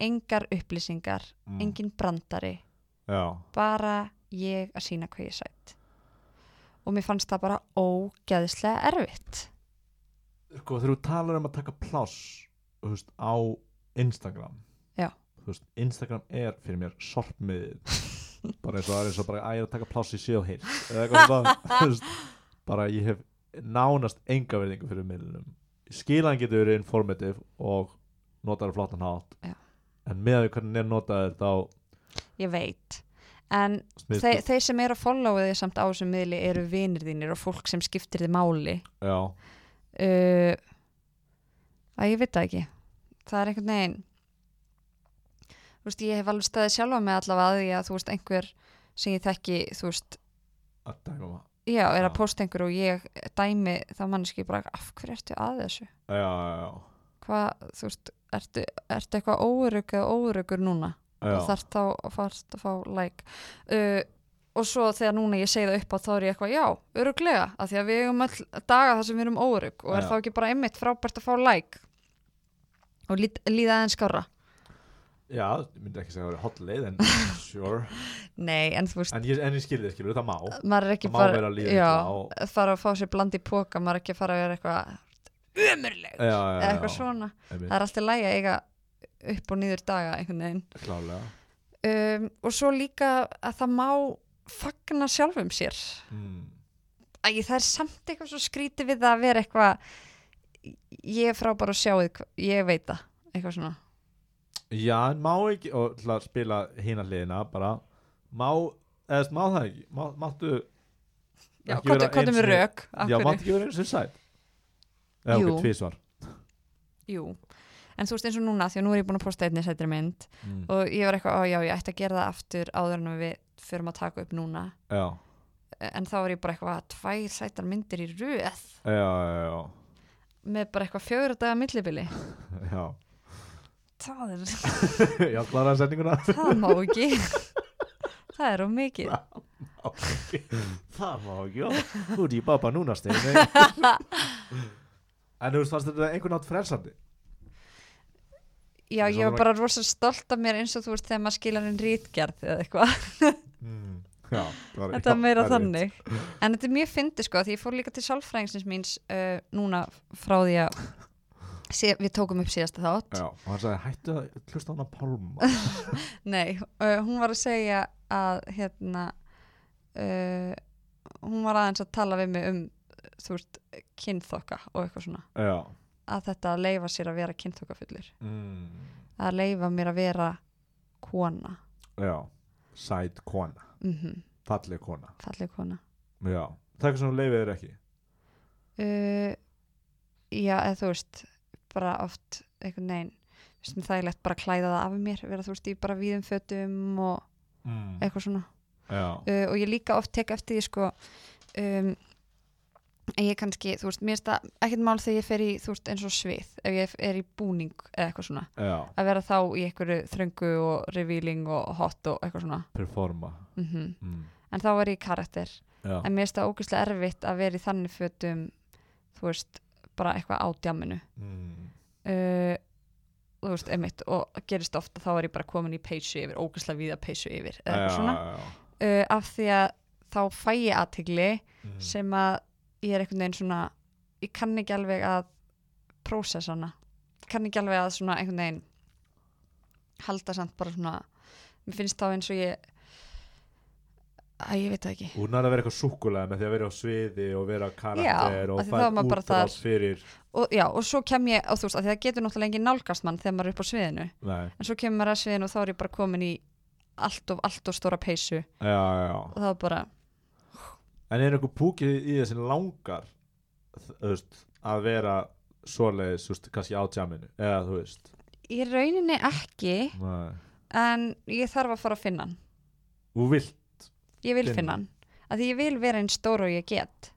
Speaker 2: engar upplýsingar
Speaker 1: mm,
Speaker 2: engin brandari,
Speaker 1: já,
Speaker 2: bara ég að sína hvað ég er sæt og mér fannst það bara ógeðislega erfitt
Speaker 1: sko þegar þú talar um að taka pláss þú veist, á Instagram
Speaker 2: Já.
Speaker 1: Þú veist, Instagram er fyrir mér
Speaker 2: [LAUGHS]
Speaker 1: sorpmiðið bara eins og það er eins og bara að ég er að taka pláss í séu heilt eða eitthvað svona, þú veist, bara ég hef nánast enga verðingu fyrir miðlunum skilan getur verið informative og notar að flottan hátt
Speaker 2: Já.
Speaker 1: en með því hvernig er notaður þá
Speaker 2: ég veit en
Speaker 1: Smiðst,
Speaker 2: Þe, þeir sem eru að followa þig samt á þessum miðli eru vinir þínir og fólk sem skiptir þið máli
Speaker 1: já,
Speaker 2: uh, að ég veit það ekki það er einhvern veginn þú veist, ég hef alveg staðið sjálfa með allavega að því að þú veist einhver sem ég þekki, þú veist
Speaker 1: að dæma maður
Speaker 2: já, er að
Speaker 1: Já.
Speaker 2: posta einhver og ég dæmi þá manneski bara, af hverju ertu að þessu
Speaker 1: já, já,
Speaker 2: hvað, þú veist, ertu, ertu eitthvað óörug eða óörugur núna
Speaker 1: já, já.
Speaker 2: og þarf þá að fara að fá like uh, og svo þegar núna ég segi það upp á þá er ég eitthvað já, öruglega af því að við eigum all daga þar sem við erum órug og er
Speaker 1: Já.
Speaker 2: þá ekki bara einmitt frábært að fá like og lít, líða aðeins skára
Speaker 1: já ég myndi ekki segja að það er hot leið
Speaker 2: [LAUGHS]
Speaker 1: en sure
Speaker 2: nei, en þú veist,
Speaker 1: en ég, en ég skilði það skilur, það má
Speaker 2: maður er ekki
Speaker 1: það má
Speaker 2: bara
Speaker 1: vera að líða
Speaker 2: já,
Speaker 1: illa og-
Speaker 2: að fara að fá sér bland í póka maður er ekki að fara að vera eitthvað umurleg
Speaker 1: já, já,
Speaker 2: eða
Speaker 1: já,
Speaker 2: eitthvað svona,
Speaker 1: einmitt,
Speaker 2: það er alltaf lægi að eiga upp og niður daga einhvern veginn
Speaker 1: klálega
Speaker 2: um, og svo líka að það má fagna sjálfum sér
Speaker 1: mm.
Speaker 2: Æ, það er samt eitthvað svo skrítið við það að vera eitthvað ég er frábær að sjá þið, ég veit það eitthvað svona,
Speaker 1: já, en má ekki og til að spila hina hliðina bara má, eða þú veist, má það ekki má, máttu
Speaker 2: já,
Speaker 1: ekki vera
Speaker 2: hvað er
Speaker 1: einu
Speaker 2: með
Speaker 1: sinni-
Speaker 2: rök af
Speaker 1: já,
Speaker 2: hverju?
Speaker 1: máttu ekki vera eins og sæt eða
Speaker 2: Jú.
Speaker 1: okkur tvísvar
Speaker 2: jú en þú veist eins og núna, því að nú er ég búin að posta einni sættri mynd
Speaker 1: mm.
Speaker 2: og ég var eitthvað, á já, ég ætti að gera það aftur áður en við förum að taka upp núna
Speaker 1: já,
Speaker 2: en þá var ég bara eitthvað, tvær sættar myndir í röð
Speaker 1: já, [LAUGHS] já, já
Speaker 2: með bara eitthvað fjögur daga millibili
Speaker 1: já,
Speaker 2: það, er,
Speaker 1: já, kláraði sendinguna
Speaker 2: það má ekki það er of mikið
Speaker 1: [LAUGHS] [LAUGHS] það má ekki já. þú ert í baba núna
Speaker 2: [LAUGHS]
Speaker 1: stein en þú veist fannst þetta einhvern átt frelsandi
Speaker 2: já,
Speaker 1: Eins og
Speaker 2: ég var
Speaker 1: það-
Speaker 2: bara rosa stolt af mér eins og þú veist þegar maður skilar en rítgerð eða eitthvað,
Speaker 1: mm. já, það
Speaker 2: þetta er meira
Speaker 1: það
Speaker 2: þannig en þetta er mjög fyndi sko, því ég fór líka til sálfræðingsins míns uh, núna frá því að sé, við tókum upp síðasta þátt
Speaker 1: já, og hann sagði hættu að hlusta á hana pálma
Speaker 2: Nei, uh, hún var að segja að hérna uh, hún var aðeins að tala við mig um þú veist, kynþokka og eitthvað svona
Speaker 1: [LAUGHS] já
Speaker 2: að þetta að leifa sér að vera kynþokkafullir
Speaker 1: mm.
Speaker 2: að leifa mér að vera kona
Speaker 1: já, sæt kona
Speaker 2: mm
Speaker 1: falleg kona
Speaker 2: falleg kona
Speaker 1: já, það er eitthvað sem þú leifir þér ekki
Speaker 2: uh, já, eða þú veist bara oft einhvern veginn þú veist, það er lett bara að klæða það af mér vera þú veist, í bara víðum fötum og
Speaker 1: mm.
Speaker 2: eitthvað svona
Speaker 1: já,
Speaker 2: uh, og ég líka oft tek eftir því sko um, að ég kannski, þú veist, mér er það ekkert mál þegar ég fer í, þú veist, eins og svið ef ég er í búning eða eitthvað svona
Speaker 1: já,
Speaker 2: að vera þá í einhverju þröngu og revealing og hot og eitthvað svona
Speaker 1: performa
Speaker 2: mm
Speaker 1: mm.
Speaker 2: en þá er ég í karakter
Speaker 1: já,
Speaker 2: en mér er það ógeðslega erfitt að vera í þannig fötum þú veist, bara eitthvað á djáminu
Speaker 1: mm.
Speaker 2: uh, þú veist, emitt og gerist ofta þá er ég bara komin í peysu yfir ógeðslega víða peysu yfir eða eitthvað Eh, svona
Speaker 1: já, já.
Speaker 2: uh, af því að þá fæ ég aðtigli
Speaker 1: Mm.
Speaker 2: sem að ég er einhvern veginn svona ég kann ekki alveg að prósessa hana kann ekki alveg að svona einhvern veginn halda samt bara svona mér finnst þá eins og ég að ég veit það ekki
Speaker 1: Hún er að vera eitthvað súkulega með því að vera á sviði og vera karakter
Speaker 2: Já,
Speaker 1: og
Speaker 2: af því þá er
Speaker 1: fæð
Speaker 2: maður bara
Speaker 1: útrás
Speaker 2: þar.
Speaker 1: fyrir
Speaker 2: og, já, og svo kem ég á þú veist að það getur náttúrulega engin nálgast mann þegar maður er upp á sviðinu
Speaker 1: Nei,
Speaker 2: en svo kemur maður að sviðinu og þá er ég bara komin í allt of, allt of stóra peysu
Speaker 1: já, já, já
Speaker 2: og þá er bara,
Speaker 1: En er einhver púkið í þessin langar þ- þú veist, að vera svoleiðis, þú veist, kannski á tjáminu eða þú veist
Speaker 2: í rauninni ekki
Speaker 1: Nei.
Speaker 2: en ég þarf að fara að finna hann
Speaker 1: Þú vilt
Speaker 2: ég vil
Speaker 1: Finna.
Speaker 2: finna hann að því ég vil vera einn stór og ég get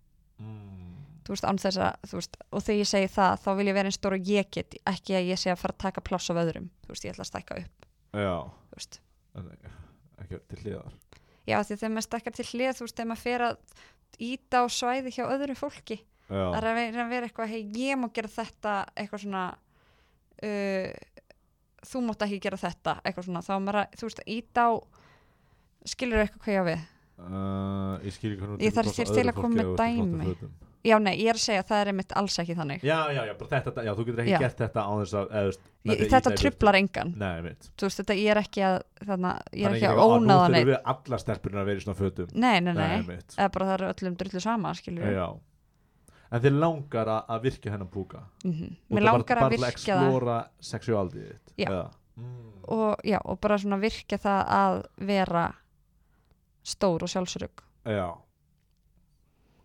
Speaker 1: mm.
Speaker 2: þú veist, án þess að, þú veist, og þegar ég segi það þá vil ég vera einn stór og ég get ekki að ég sé að fara að taka pláss af öðrum þú veist, ég ætla að stækka upp,
Speaker 1: Já,
Speaker 2: þú veist
Speaker 1: en ekki til hliðar
Speaker 2: já, af því að þegar maður stækkar til hlið, þú veist, þegar maður fer að íta á svæði hjá öðru fólki að
Speaker 1: Já,
Speaker 2: reyna að vera eitthvað, hei, ég má gera þetta eitthvað svona uh, þú mátt ekki gera þetta eitthvað svona, þá er maður að, þú veist, að íta á skilur eitthvað hvað ég á við
Speaker 1: uh, ég skil ekki hvernig
Speaker 2: Ég þarf til- til að koma með dæmi. já, nei, ég er að segja, að það er einmitt alls ekki þannig
Speaker 1: Já, já, já, bara þetta, já, þú getur ekki
Speaker 2: Já.
Speaker 1: gert þetta á þess að, eða, þú veist, með
Speaker 2: ég,
Speaker 1: því að
Speaker 2: þetta
Speaker 1: ýta í burtu.
Speaker 2: trublar engan
Speaker 1: Nei, mitt
Speaker 2: þú veist þetta ég er ekki að þarna, ég
Speaker 1: Þannig
Speaker 2: er ekki að
Speaker 1: eitthvað,
Speaker 2: ónáða
Speaker 1: Nú
Speaker 2: neitt
Speaker 1: þurfum við alla stelpunar að vera í svona fötum
Speaker 2: nei, nei, nei,
Speaker 1: mitt
Speaker 2: eða bara það eru öllum drullu sama skilur við
Speaker 1: Já En þið langar að, að virka hennan púka
Speaker 2: Mhm.
Speaker 1: Og
Speaker 2: mér
Speaker 1: það
Speaker 2: langar
Speaker 1: bara,
Speaker 2: að
Speaker 1: bara
Speaker 2: virka það
Speaker 1: explora sexualdið þitt
Speaker 2: Já.
Speaker 1: Eða? Mm.
Speaker 2: og, já, og bara svona virka það að vera stór og sjálfsörug
Speaker 1: Já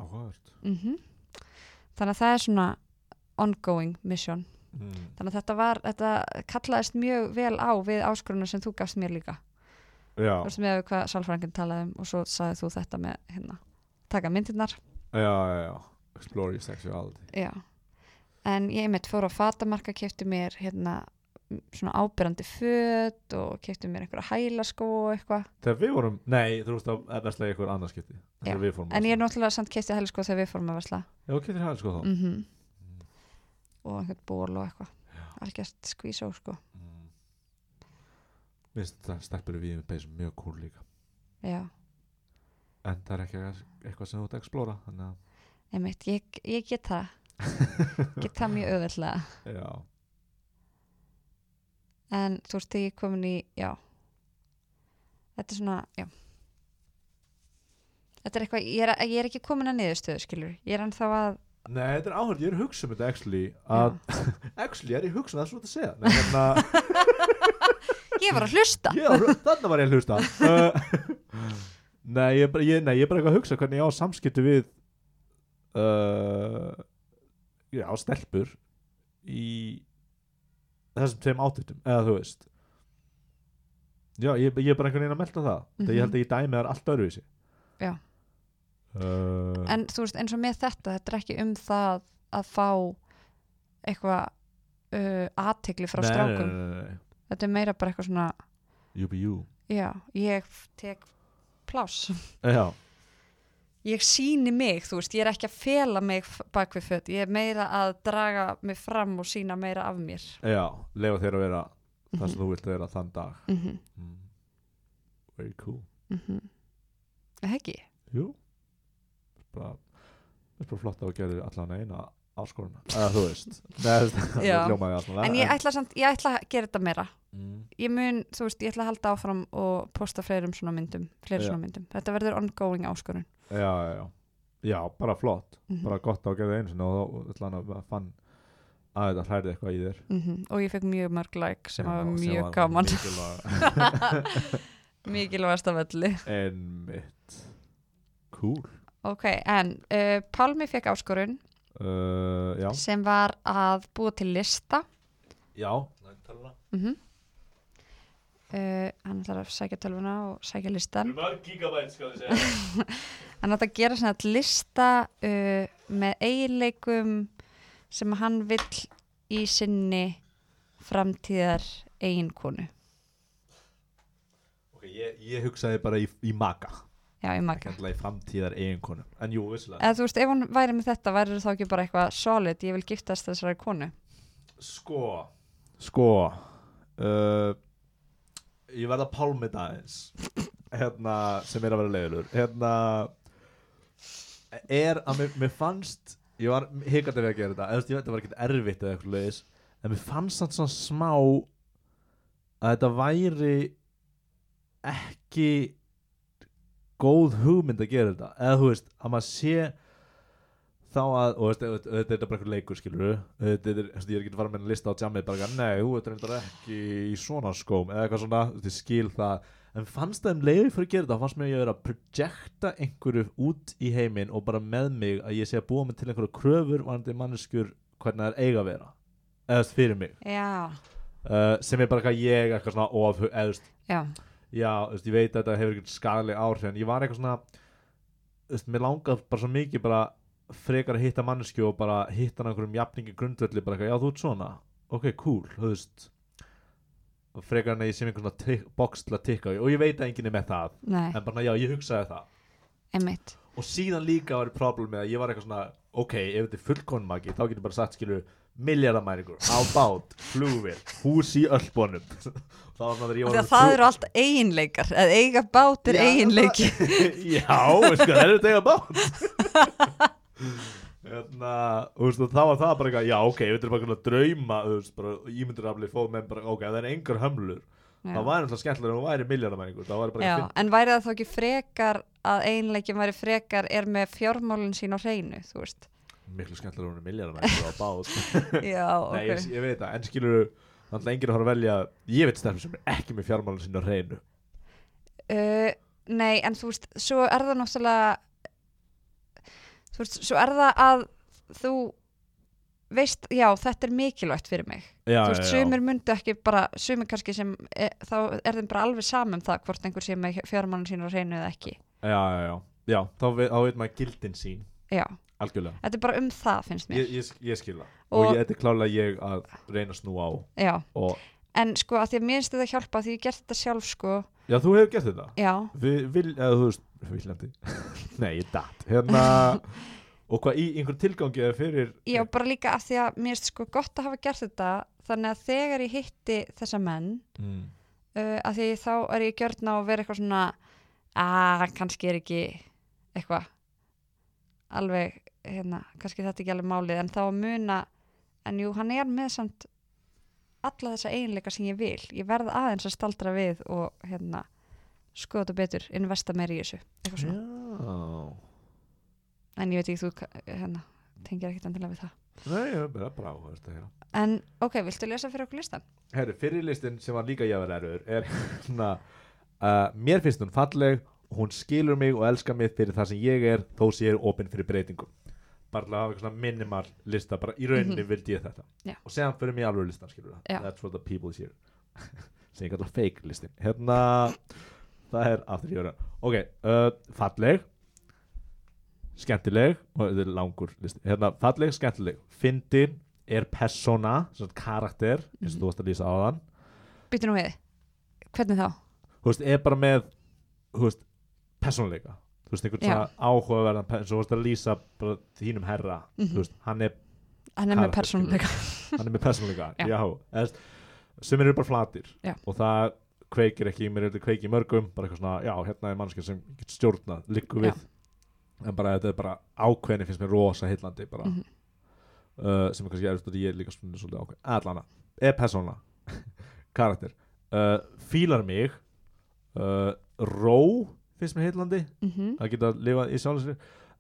Speaker 1: Áhört
Speaker 2: mm þannig að það er svona ongoing mission
Speaker 1: mm.
Speaker 2: þannig að þetta var, þetta kallaðist mjög vel á við áskoruna sem þú gafst mér líka
Speaker 1: Já,
Speaker 2: þú veist með hvað sálfrængin talaði um og svo sagði þú þetta með hérna taka myndirnar
Speaker 1: já, já, já Explore your sexuality
Speaker 2: Já, en ég einmitt fór á fatamarka, kefti mér hérna m- svona ábyrrandi föt og kefti mér einhverja hælaskó og eitthvað,
Speaker 1: Þegar við vorum, nei, þú veist að versla í einhver annarskipti Þegar við fórum
Speaker 2: en ég er náttúrulega samt kefti hælaskó þegar við fórum að versla
Speaker 1: Já, ok, þér hæði sko þá
Speaker 2: mm og einhvern ból og eitthvað algjört skvísó sko
Speaker 1: mm. Mér finnst þetta stelpur við með peysum mjög cool líka
Speaker 2: Já,
Speaker 1: En það er ekki eitthvað sem þú ert að explora Þannig að
Speaker 2: einmitt, ég, ég get það
Speaker 1: [LAUGHS]
Speaker 2: get það mjög auðveldlega
Speaker 1: Já,
Speaker 2: en þú veist þegar ég er komin í já, þetta er svona já Þetta er eitthvað, ég er, ég er ekki komin að niðurstöðu, skilur. Ég er ennþá að,
Speaker 1: Nei, þetta er áhörð, ég er að hugsa um þetta actually að, actually, ég er í hugsa um það sem þú ert að segja Nei, hérna,
Speaker 2: ég var að
Speaker 1: [LAUGHS]
Speaker 2: hlusta.
Speaker 1: ég, var- þarna var ég að hlusta uh, [LAUGHS] nei, ég, er bara- ég, nei, ég er bara eitthvað að hugsa hvernig ég á samskipti við uh, Já, stelpur í þessum tveim átutum, eða þú veist Já, ég, ég er bara einhvern veginn að melta það Þegar
Speaker 2: Mhm.
Speaker 1: ég held að ég dæmi þar allt öðruvísi
Speaker 2: Já.
Speaker 1: uh,
Speaker 2: en þú veist eins og með þetta þetta er ekki um það að fá eitthvað uh, aðtegli frá
Speaker 1: Nei, nei,
Speaker 2: strákum
Speaker 1: nei, nei, nei.
Speaker 2: þetta er meira bara eitthvað svona
Speaker 1: You be you
Speaker 2: já, ég tek pláss
Speaker 1: Já,
Speaker 2: ég síni mig, þú veist, ég er ekki að fela mig f- bak við fött, ég er meira að draga mig fram og sína meira af mér
Speaker 1: já, lefa þér að vera það
Speaker 2: Mhm.
Speaker 1: sem þú vilt vera þann dag
Speaker 2: mm -hmm.
Speaker 1: mm. Very cool
Speaker 2: Mm
Speaker 1: [LAUGHS]
Speaker 2: ekki
Speaker 1: Jú bara, Það er bara flott að þú gerir allan eina [LAUGHS] áskorun eða þú veist Nei, það
Speaker 2: Já.
Speaker 1: ljómaði allan
Speaker 2: en ég ætla samt, ég ætla að gera þetta meira
Speaker 1: mm,
Speaker 2: ég mun, þú veist, ég ætla að halda áfram og posta fleirum svona myndum, fleiri
Speaker 1: Já.
Speaker 2: svona myndum þetta verður ongoing áskorun
Speaker 1: Já, já, já Já, bara flott,
Speaker 2: mm -hmm.
Speaker 1: bara gott að þú gerir einu sinni og þá ætla hann að bara fann að þetta hlærði eitthvað í þér
Speaker 2: og ég fekk mjög mörg like sem
Speaker 1: Já,
Speaker 2: var
Speaker 1: sem
Speaker 2: mjög
Speaker 1: var
Speaker 2: gaman
Speaker 1: mikilvæg-
Speaker 2: mikilvægast af öllu
Speaker 1: Einmitt Cool
Speaker 2: ok, en uh, Pálmi fekk áskorun
Speaker 1: uh, Já,
Speaker 2: sem var að búa til lista
Speaker 1: já
Speaker 2: mm -hmm. Eh, hann ætlar að sækja tölvuna og sækja listan
Speaker 1: mörg gigabæt skal ég segja
Speaker 2: hann ætlar að gera svona lista uh, með eiginleikum sem hann vill í sinni framtíðar eiginkonu
Speaker 1: Ok, ég, ég hugsaði bara í, í maka
Speaker 2: já, í
Speaker 1: ekki
Speaker 2: maga
Speaker 1: alltaf í framtíðar eiginkonu en jú, vissulega
Speaker 2: eða þú veist, ef hann væri með þetta væri þá ekki bara eitthvað solid, ég vil giftast þessari konu
Speaker 1: sko sko uh, ég verða pálmið aðeins hérna, sem er að vera leiðilur hérna er að mér, mér fannst ég var hikandi við að gera þetta eða þú veist, ég veit þetta var ekkert erfitt eða eitthvað leiðis en mér fannst þetta svona smá að þetta væri ekki góð hugmynd að gera þetta eða þú veist, að maður sé þá að, og veist, auðvitað auðvitað er þetta bara eitthvað leikur skilur þetta er, þú veist, ég er ekki að fara með en lista á jammið bara, eitthvað, nei, þú ert reyndar ekki í svona skóm eða eitthvað svona, þú veist, ég skil það en fannst það um leiði fyrir að gera þetta fannst mér að ég vera að projekta einhverju út í heiminn og bara með mig að ég sé að búa mig til einhverju kröfur varandi manneskjur hvernig það er eiga að vera eða þú veist, fyrir mig,
Speaker 2: já,
Speaker 1: uh, sem er bara eitthvað ég eitthvað svona of, eða þú veist,
Speaker 2: já,
Speaker 1: já, þú veist, ég veit að þetta hefur ekkert skadaleg áhrif en ég var eitthvað svona þú veist, mér langaði bara svo mikið bara frekar að hitta mannesku og bara hitta hann á einhverjum jafningi grundvöldi, bara eitthvað, já, þú ert svona ok, cool, þú veist og frekar hann að ég sem einhvern svona box til að tikka á, og ég veit að enginn er með það
Speaker 2: nei,
Speaker 1: en bara, já, ég hugsaði það
Speaker 2: einmitt
Speaker 1: og síðan líka var problemið að ég var eitthvað svona ok, ef þetta er fullkonum magi þá getur bara sagt skilur miljardamæringur á bát, flugvél, hús í öllbónum [LAUGHS] það var maður ég var
Speaker 2: Af því að
Speaker 1: með
Speaker 2: það
Speaker 1: flug-
Speaker 2: eru allt eiginleikar að eiga bát er
Speaker 1: Já,
Speaker 2: eiginleiki
Speaker 1: [LAUGHS] Já, veistu hvað, það er þetta eiga Hérna, bát
Speaker 2: [LAUGHS]
Speaker 1: Þannig að það var það bara eitthvað, já ok, þetta er bara eitthvað drauma, þú veist, bara ímyndurafli fóð menn bara, ok, það er engar hömlur
Speaker 2: Já.
Speaker 1: Það væri alltaf skemmtilega, hún væri milljarnamæningur, það væri bara
Speaker 2: Já, en væri það þá ekki frekar að einleikin væri frekar er með fjármálun sín á hreinu, þú
Speaker 1: [LAUGHS]
Speaker 2: veist
Speaker 1: finn, miklu skemmtilega hún er milljarnamæningur á
Speaker 2: [LAUGHS]
Speaker 1: bát
Speaker 2: Já, ok
Speaker 1: sko. Nei, ég, ég veit það, en skilur þannig að enginn að fara að velja, ég veit stefnum sem er ekki með fjármálun sinni á hreinu
Speaker 2: uh, Nei, en þú veist, svo er það náttúrulega þú veist, svo er það að þú veist, já, þetta er mikilvægt fyrir mig
Speaker 1: Já,
Speaker 2: þú veist, sumir myndu ekki bara sumir kannski sem, e, þá er þeim bara alveg saman um það hvort einhver sé með fjármálun sín á hreinu eða ekki,
Speaker 1: já, já, já, já, þá veit, þá veit maður gildin sín,
Speaker 2: já
Speaker 1: algjörlega
Speaker 2: Þetta er bara um það, finnst mér
Speaker 1: Ég, ég, ég skil það, og,
Speaker 2: Og-
Speaker 1: ég, þetta er klálega ég að reyna að snúa á
Speaker 2: Já,
Speaker 1: og
Speaker 2: en sko að því að mér finnst þetta hjálpa því ég hef gert þetta sjálf sko,
Speaker 1: Já, þú hefur gert þetta
Speaker 2: já
Speaker 1: Við, vil, eða þú veist, viljandi [LAUGHS] Nei, ég datt Hérna,
Speaker 2: [LAUGHS]
Speaker 1: og hvað í einhver tilgangi eða fyrir
Speaker 2: Já, bara líka að því að mér finnst sko gott að hafa gert þetta þannig að þegar ég hitti þessa menn
Speaker 1: mm.
Speaker 2: uh, að því þá er ég gjörn á að vera eitthvað svona að kannski er ekki eitthvað alveg, hérna, kannski þetta er ekki alveg málið en þá að muna en jú, hann er með samt alla þessa eiginleika sem ég vil ég verð aðeins að staldra við og hérna, skoða þetta betur investa meir í þessu, eitthvað
Speaker 1: Mm.
Speaker 2: svona
Speaker 1: Já
Speaker 2: en ég veit ekki þú ka- hérna, tengir ekkert endilega við það
Speaker 1: Nei, ég er bara brá hérna.
Speaker 2: en ok, viltu lesa fyrir okkur listan?
Speaker 1: Herri, fyrirlistin sem var líka jáverðarur er hérna uh, Mér finnst hún falleg, hún skilur mig og elskar mig fyrir það sem ég er þó sé ég er opinn fyrir breytingum bara til að hafa eitthvað svona minimal lista bara í rauninni vildi ég þetta
Speaker 2: Mhm. Já.
Speaker 1: og segja hann fyrir mig alveg listan skilur
Speaker 2: Já.
Speaker 1: það that's what the people is here [LAUGHS] sem ég kallar fake listin hérna það er aftur í öðru ok, uh, falleg skemmtileg og þetta er langur listi hérna, falleg, skemmtileg, fyndin er persona, sem sagt karakter eins og
Speaker 2: Mhm.
Speaker 1: þú varst að lýsa á þann
Speaker 2: Býtu nú við, hvernig þá?
Speaker 1: þú veist, er bara með þú veist, persónuleika þú veist, einhvern
Speaker 2: Já.
Speaker 1: svona áhugaverðan pe- eins og þú veist að lýsa bara þínum herra
Speaker 2: Mhm.
Speaker 1: þú veist, hann er,
Speaker 2: Hann er með
Speaker 1: Karakter,
Speaker 2: persónuleika
Speaker 1: hann er með persónuleika
Speaker 2: Já.
Speaker 1: já, já eðst, sem eru bara flatir
Speaker 2: Já.
Speaker 1: og það kveikir ekki, í mér er þetta kveikir mörgum bara eitthvað svona, já, hérna er mannskja sem getur stjórnað liggur
Speaker 2: Já.
Speaker 1: við en bara þetta er bara ákveðin finnst mér rosa heillandi bara
Speaker 2: Mhm.
Speaker 1: uh, sem er kannski erfitt að ég er líka svona svolítið ákveðin allana, er persóna [LAUGHS] karakter, uh, fílar mig uh, ró finnst mér heillandi
Speaker 2: Mhm.
Speaker 1: að geta lifað í sjálfsir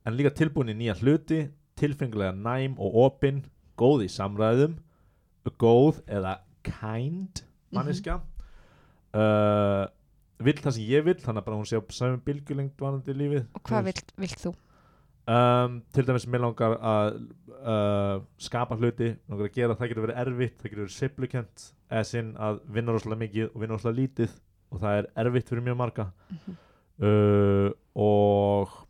Speaker 1: en líka tilbúin í nýja hluti tilfengulega næm og opin góð í samræðum góð eða kind
Speaker 2: Mhm.
Speaker 1: manneska uh, vill það sem ég vill þannig að bara hún sé á saman bylgjulengd varandi lífið
Speaker 2: Og hvað vilt, vilt þú?
Speaker 1: um, til dæmis mér langar að uh, skapa hluti mig langar að gera, það getur verið erfitt það getur verið sveiflukent eða sinn að vinna rosalega mikið og vinna rosalega lítið og það er erfitt fyrir mjög marga uh, og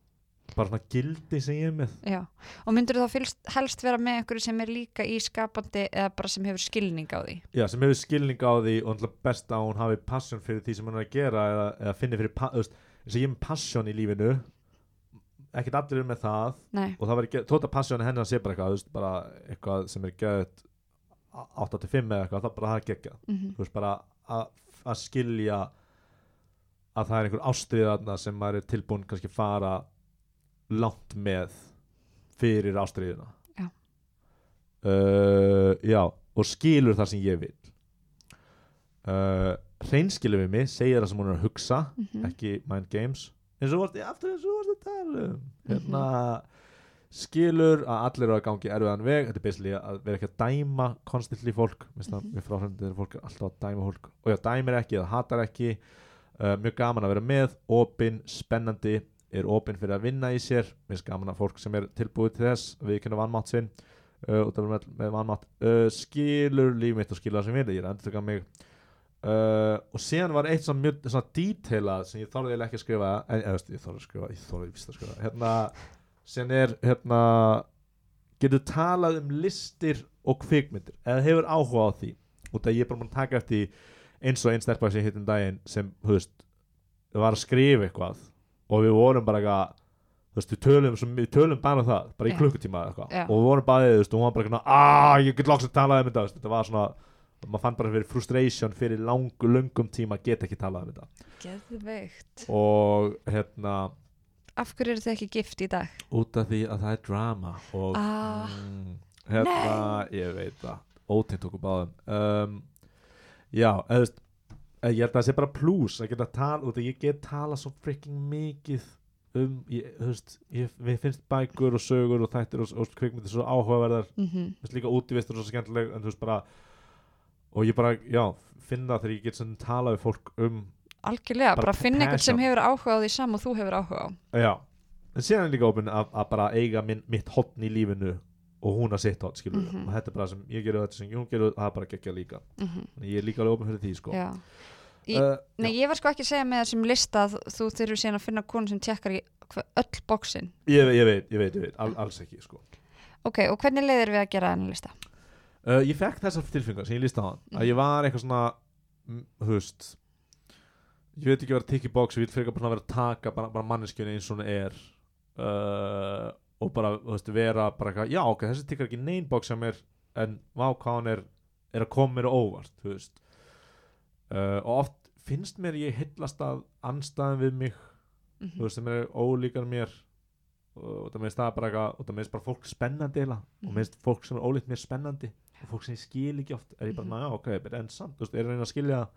Speaker 1: bara svona gildi sem ég er með
Speaker 2: Já, og myndur þá fylst, helst vera með einhverju sem er líka í skapandi eða bara sem hefur skilning á því
Speaker 1: Já, sem hefur skilning á því og náttúrulega best að hún hafi passion fyrir því sem hún er að gera eða, eða finni fyrir, pa- þú veist, eins og ég er með passion í lífinu ekkert allir er með það
Speaker 2: Nei,
Speaker 1: og það verið, ge- þótt að passjónu hennar sé bara eitthvað, þú veist, bara eitthvað sem er gæðið 8-5 eða eitthvað, það bara það er geggjað
Speaker 2: mm
Speaker 1: þú veist, bara að, að skilja að það er einhver ástrið þarna sem maður er tilbúin kannski að fara langt með fyrir ástriðina
Speaker 2: Já.
Speaker 1: uh, já og skilur það sem ég vil uh, reynskilur við mig segir það sem hún er að hugsa ekki Mind Games eins og vorst, aftur eins og vorst að tala um hérna skilur að allir eru að gangi erfiðan veg þetta er basically að vera ekki að dæma konstantly fólk, minnst það,
Speaker 2: Mhm.
Speaker 1: mér fráhrendir fólk er alltaf að dæma fólk og já, dæmir ekki eða hatar ekki uh, mjög gaman að vera með opin, spennandi er opin fyrir að vinna í sér minnst gaman að fólk sem er tilbúið til þess við kynna vanmátt sinn uh, út af með, með vanmátt uh, skilur líf mitt og skilur það sem vilja, ég er að endur mig uh, og síðan var eitt svona, mjög, svona detailað sem ég þorði eiginlega ekki að skrifa en eða, þú veist, ég þorði að skrifa, ég þorði víst að skrifa hérna, síðan er hérna, getur talað um listir og kvikmyndir eða hefur áhuga á því út að ég er bara múin að taka eftir því eins og einn stelpa sem ég hittum daginn sem, þú veist, var að skrifa eitthvað og við vorum bara eitthvað þú veist, við tölum, svo- við tölum bara um það bara í
Speaker 2: Já.
Speaker 1: klukkutíma eða eitthvað
Speaker 2: Já.
Speaker 1: og við vorum bæðið, þú veist, og hún var bara eitthvað aaa, ég get loks að tala um þetta, þú veist, þetta var svona maður fann bara fyrir frustration fyrir langu, löngum tíma að geta ekki talað um þetta
Speaker 2: geðveikt
Speaker 1: og hérna
Speaker 2: Af hverju eru þið ekki gift í dag?
Speaker 1: út af því að það er drama og
Speaker 2: Ah.
Speaker 1: mm, hérna, ég veit það ótegnt okkur báðum um, já, eða þú veist eh, ég held að það sé bara plus að geta tala út af ég get tala svo freaking mikið um, ég, þú veist ég, við finnst bækur og sögur og þættir og, og kvikmyndir svo áhugaverðar
Speaker 2: Mm
Speaker 1: þú veist líka útivist er svo skemmtileg en þú veist bara og ég bara, já, finna þegar ég get sem tala við fólk um,
Speaker 2: Algjörlega,
Speaker 1: Bara
Speaker 2: bara finn einhvern sem
Speaker 1: passion.
Speaker 2: hefur áhuga á því sam og þú hefur áhuga á
Speaker 1: já en síðan er líka opinn að, að bara eiga minn, mitt hotn í lífinu og hún að sitt hotn skilur
Speaker 2: Mhm.
Speaker 1: og þetta er bara sem ég gerði þetta sem hún gerði og það er bara gekkja líka
Speaker 2: mm
Speaker 1: Þannig ég er líka alveg opinn fyrir því sko
Speaker 2: Já Í-
Speaker 1: uh,
Speaker 2: Nei, ég var sko ekki að segja með þessum lista að þú þurfur síðan að finna konu sem tekkar í hva- öll bóksin
Speaker 1: ég, ég veit, ég veit, ég veit, all, alls ekki sko
Speaker 2: Ok, og hvernig leiðir við að gera þennan lista?
Speaker 1: uh, ég fekk þessar tilfengar sem ég líst á hann að ég var eitthvað svona mm, þú veist ég veit ekki að vera tiki box, ég vil frekar bara svona vera að taka bara, bara manneskjunni eins og hún er uh, og bara þú veist, vera bara eitthvað, já ok, þessi tikkar ekki neyn box sem er, en vákáðan er er að koma mér á óvart þú veist uh, og oft finnst mér ég hillast að anstæðan við mig
Speaker 2: Mm
Speaker 1: þú veist, sem er ólíkar mér og það meðist það bara eitthvað og það meðist bara fólk spennandi eila og
Speaker 2: Mhm.
Speaker 1: meðist fólk sem er ólíkt mér spennandi og fólk sem ég skil ekki oft er ég bara,
Speaker 2: Mhm.
Speaker 1: nája, ok, bara enn samt, þú veist, er að reyna að skilja það.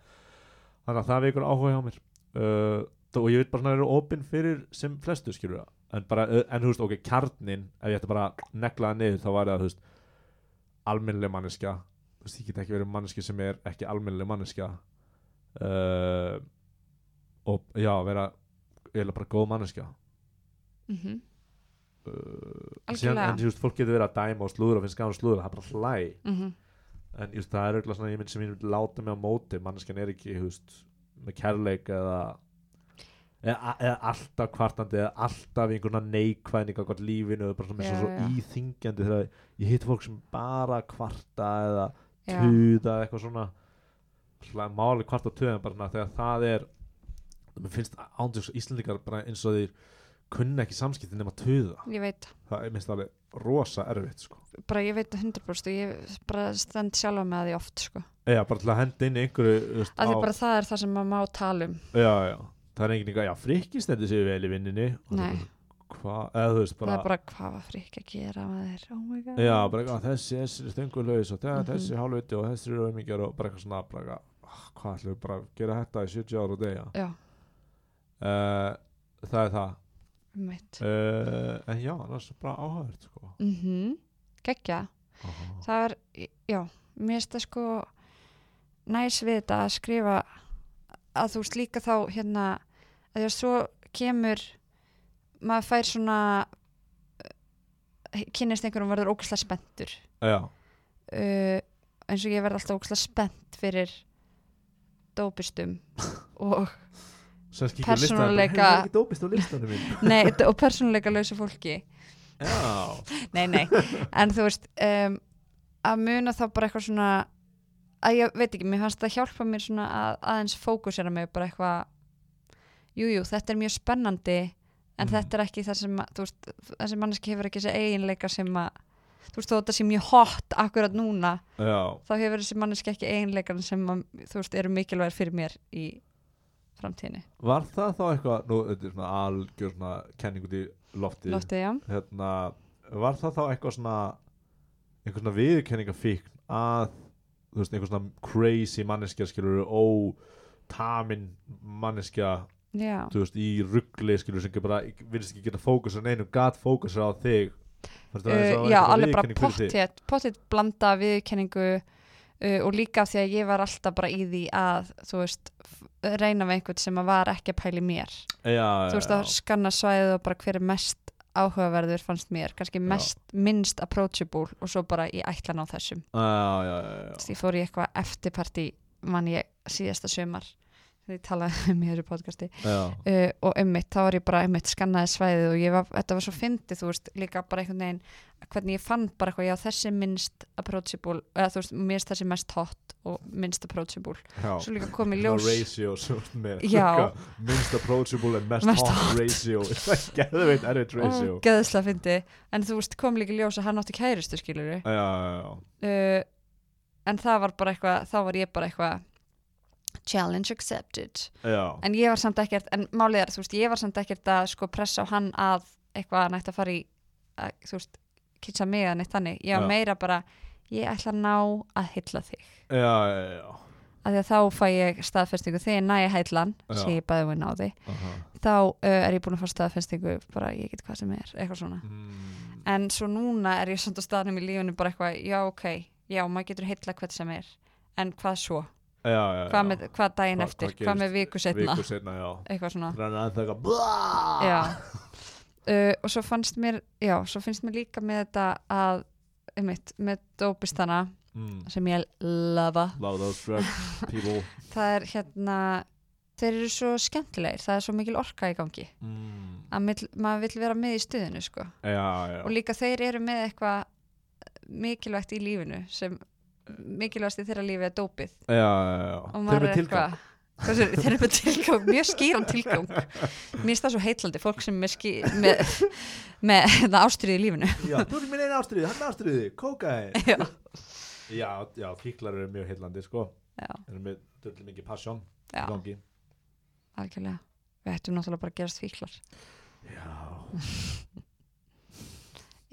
Speaker 1: þannig að það er ykkur áhuga hjá mér uh, þó- og ég veit bara svona eru opinn fyrir sem flestu skilur það en bara, uh, en þú veist, ok, kjarnin ef ég ætti bara að negla það niður þá var það, þú veist almennileg manneska þú veist, ég get ekki verið manneski sem er ekki almennileg manneska uh, og já, vera eiginlega bara góð manneska síðan,
Speaker 2: Algjörlega.
Speaker 1: en þú veist, fólk getur verið að dæma og slúður og finnst gaman að slúður, það er bara hlæ
Speaker 2: Mhm.
Speaker 1: en just, það er auðvitað svona ég mynd sem ég mynd láta mig á móti, manneskjan er ekki þú veist, með kærleik eða eða, eða alltaf kvartandi eða alltaf einhverna neikvæðning á lífinu og bara svona,
Speaker 2: Já,
Speaker 1: yeah, svo
Speaker 2: já.
Speaker 1: íþingjandi þegar ég hitt fólk sem bara kvarta eða
Speaker 2: já,
Speaker 1: tuða eða eitthvað svona svona máli kvarta og tuða en bara svona þegar það er mér finnst ándjóks íslendingar bara eins og þeir kunna ekki samskipti nema tuða
Speaker 2: ég veit
Speaker 1: það er minnst alveg rosa erfitt sko.
Speaker 2: bara ég veit 100% og ég bara stend sjálfa með það í oft sko.
Speaker 1: eða bara til að henda inn einhverju þú veist,
Speaker 2: að því
Speaker 1: á-
Speaker 2: bara það er það sem maður má tala um
Speaker 1: já, já. það er enginn eitthvað, já frikki stendur sér vel í vinninni og það er
Speaker 2: Nei.
Speaker 1: bara, hvað, eða þú veist
Speaker 2: það
Speaker 1: bara,
Speaker 2: er bara hvað var frík að gera maður oh my god
Speaker 1: já, bara eitthvað, "Ah, þessi, þessi stöngulegs og
Speaker 2: Mhm.
Speaker 1: þessi, þessi hálfuti og þessi eru ömingjar og bara eitthvað svona bara, eitthvað, ah, hvað ætlum við bara að gera þetta í 70 ára og degja
Speaker 2: Já.
Speaker 1: uh, það er það
Speaker 2: Um mitt
Speaker 1: uh, en já, annars er bara áhægt sko.
Speaker 2: mm geggja
Speaker 1: Aha.
Speaker 2: það er, já, mér finnst það sko næs við þetta að skrifa að þú veist líka þá hérna að því að svo kemur maður fær svona eh, kynnist einhverjum og verður ógislega spenntur
Speaker 1: já,
Speaker 2: uh, eins og ég verð alltaf ógislega spennt fyrir [LAUGHS] dópistum og,
Speaker 1: sem skikir
Speaker 2: Persónuleika-
Speaker 1: listan hefur ekki dópist á listanum minn
Speaker 2: nei, og persónuleika lausa fólki
Speaker 1: [LAUGHS] já,
Speaker 2: nei, nei, en þú veist um, að muna þá bara eitthvað svona að ég veit ekki, mér fannst það hjálpa mér svona að aðeins fókusera mig bara eitthvað jújú, jú, þetta er mjög spennandi en
Speaker 1: Mhm.
Speaker 2: þetta er ekki það sem að, þú veist, þessi manneski hefur ekki þessi eiginleika sem að þú veist, þó þetta sé mjög hot akkurat núna
Speaker 1: já,
Speaker 2: þá hefur þessi manneski ekki eiginleikan sem að, þú veist, eru mikilvægir fyrir mér í framtíðinni,
Speaker 1: var það þá eitthvað nú, þetta er svona algjör svona kenning út í lofti
Speaker 2: lóttið, já
Speaker 1: hérna, var það þá eitthvað svona einhver svona viðurkenningafíkn að, þú veist, einhver svona crazy manneskja skilur ó, tamin manneskja
Speaker 2: já,
Speaker 1: þú veist, í ruggli skilur sem ekki bara, virðist ekki geta fókusar neinu, gat fókusar á þig Fannst þér það eins og það
Speaker 2: uh,
Speaker 1: væri
Speaker 2: já,
Speaker 1: einhver
Speaker 2: alveg bara
Speaker 1: viðurkenning fyrir þig?
Speaker 2: pottet pottet blanda viðkenningu uh, og líka af því að ég var alltaf bara í því að þú veist, f- reyna við einhvern sem að var ekki að pæli mér
Speaker 1: já,
Speaker 2: þú veist,
Speaker 1: já,
Speaker 2: að skanna svæðið og bara hver er mest áhugaverður fannst mér, kannski mest, minnst approachable og svo bara ég ætlan á þessum
Speaker 1: já, já, já, já.
Speaker 2: því fór ég eitthvað eftirparti mann ég síðasta sömar því talaði [LAUGHS] um í þessu podcasti
Speaker 1: já.
Speaker 2: uh, og ummitt, þá var ég bara ummitt skannaði svæðið og ég var, þetta var svo fyndið, þú veist, líka bara einhvern veginn hvernig ég fann bara eitthvað, já þessi minnst approachable, eða þú veist, mér finnst þessi mest hot og minnst approachable [LAUGHS]
Speaker 1: já.
Speaker 2: svo líka kom í
Speaker 1: Svona
Speaker 2: ljós
Speaker 1: ratio [LAUGHS] sem þú ert með
Speaker 2: Já.
Speaker 1: Eitthvað, minnst approachable en mest,
Speaker 2: Mest
Speaker 1: hot,
Speaker 2: hot.
Speaker 1: ratio [LAUGHS] geðveit erfitt ratio
Speaker 2: og geðslega fyndið, en þú veist, kom líka í ljós að hann átti kæristu skilur uh,
Speaker 1: já, já, já,
Speaker 2: en það var bara eitthvað, þá var ég bara eitthvað challenge accepted
Speaker 1: já.
Speaker 2: en ég var samt ekkert, en málið er þú veist, ég var samt ekkert að sko pressa á hann að eitthvað hann ætti að fara í að, þú veist, kitsa mig að neitt þannig ég var
Speaker 1: Já.
Speaker 2: meira bara, ég ætla að ná að hylla þig,
Speaker 1: já, já, já.
Speaker 2: af því að þá fæ ég staðfestingu þegar ég næ að hylla hann
Speaker 1: Já.
Speaker 2: sé ég bæði við náði,
Speaker 1: Aha.
Speaker 2: þá uh, er ég búin að fá staðfestingu, bara ég get hvað sem er eitthvað svona,
Speaker 1: Mm,
Speaker 2: en svo núna er ég samt á staðnum í lífinu bara eitthvað, já ok já, maður getur hylla hvert sem er en hvað svo,
Speaker 1: já, já, já.
Speaker 2: hvað, með, hvað daginn
Speaker 1: Hvað-
Speaker 2: eftir
Speaker 1: hvað
Speaker 2: hvað,
Speaker 1: gerist
Speaker 2: með viku setna,
Speaker 1: viku setna, já
Speaker 2: eitthvað svona
Speaker 1: þannig að það er eitthvað
Speaker 2: já uh, og svo fannst mér já, svo finnst mér líka með þetta að einmitt, með dópistana
Speaker 1: mm.
Speaker 2: sem ég lafa
Speaker 1: love those drug people
Speaker 2: það er hérna þeir eru svo skemmtilegir, það er svo mikil orka í gangi
Speaker 1: mm.
Speaker 2: að mill, maður vill vera með í stuðinu sko.
Speaker 1: já, já,
Speaker 2: og líka þeir eru með eitthvað mikilvægt í lífinu sem mikilvægast í þeirra lífi er dópið
Speaker 1: já, já, já.
Speaker 2: og
Speaker 1: Þeir
Speaker 2: maður
Speaker 1: eru
Speaker 2: er
Speaker 1: tilgang.
Speaker 2: eitthvað Hvað sér, þeir eru með tilgang, mjög skýran tilgang mér finnst það svo heitlandi fólk sem er með, ský, með, með ástriði í lífinu
Speaker 1: já, þú erum minn einn ástriði, hann ástriði, kókaði
Speaker 2: [LAUGHS] Já.
Speaker 1: já, já, fíklar eru mjög heillandi sko,
Speaker 2: Já.
Speaker 1: eru með döllu mikið passion í
Speaker 2: Já,
Speaker 1: gangi
Speaker 2: algjörlega. Við ættum náttúrulega bara að gerast fíklar.
Speaker 1: Já,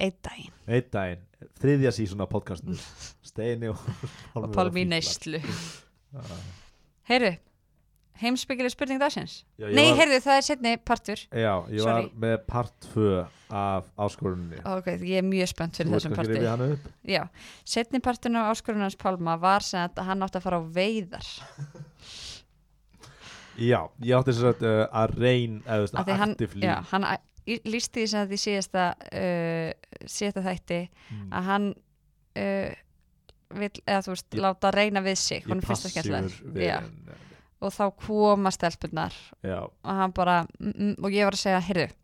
Speaker 2: Einn daginn.
Speaker 1: einn daginn, þriðja sísón af podcastinu Steini og
Speaker 2: Og
Speaker 1: Pálmi
Speaker 2: Pálmi í
Speaker 1: verða
Speaker 2: neyslu.
Speaker 1: fíklar.
Speaker 2: Heyrðu, heimsbyggileg spurning dagsins.
Speaker 1: Já, ég
Speaker 2: Nei,
Speaker 1: var-
Speaker 2: heyrðu, það er setni partur.
Speaker 1: Já, ég var
Speaker 2: Sorry.
Speaker 1: með part 2 af áskoruninni
Speaker 2: Ok, ég er mjög spennt fyrir þessum
Speaker 1: Þú veist hvað
Speaker 2: parti.
Speaker 1: gerir við hann upp
Speaker 2: Já, setni partin á áskorun hans Pálma var sem að hann átti að fara á veiðar.
Speaker 1: Já, ég átti þess að uh, að reyn eða þess
Speaker 2: Af því
Speaker 1: að
Speaker 2: hann-
Speaker 1: aktiv
Speaker 2: Já,
Speaker 1: líf
Speaker 2: hann æ- í- lýsti því sem að því síðasta, uh, síðasta þætti
Speaker 1: Mm.
Speaker 2: að hann uh, vil, eða þú veist,
Speaker 1: Ég-
Speaker 2: láta reyna við sig.
Speaker 1: Ég
Speaker 2: Hún finnst það
Speaker 1: passífur
Speaker 2: skemmtilega.
Speaker 1: við
Speaker 2: Já.
Speaker 1: en,
Speaker 2: og þá koma stelpunar
Speaker 1: já,
Speaker 2: og hann bara, mm, mm, og ég var að segja heyrðu,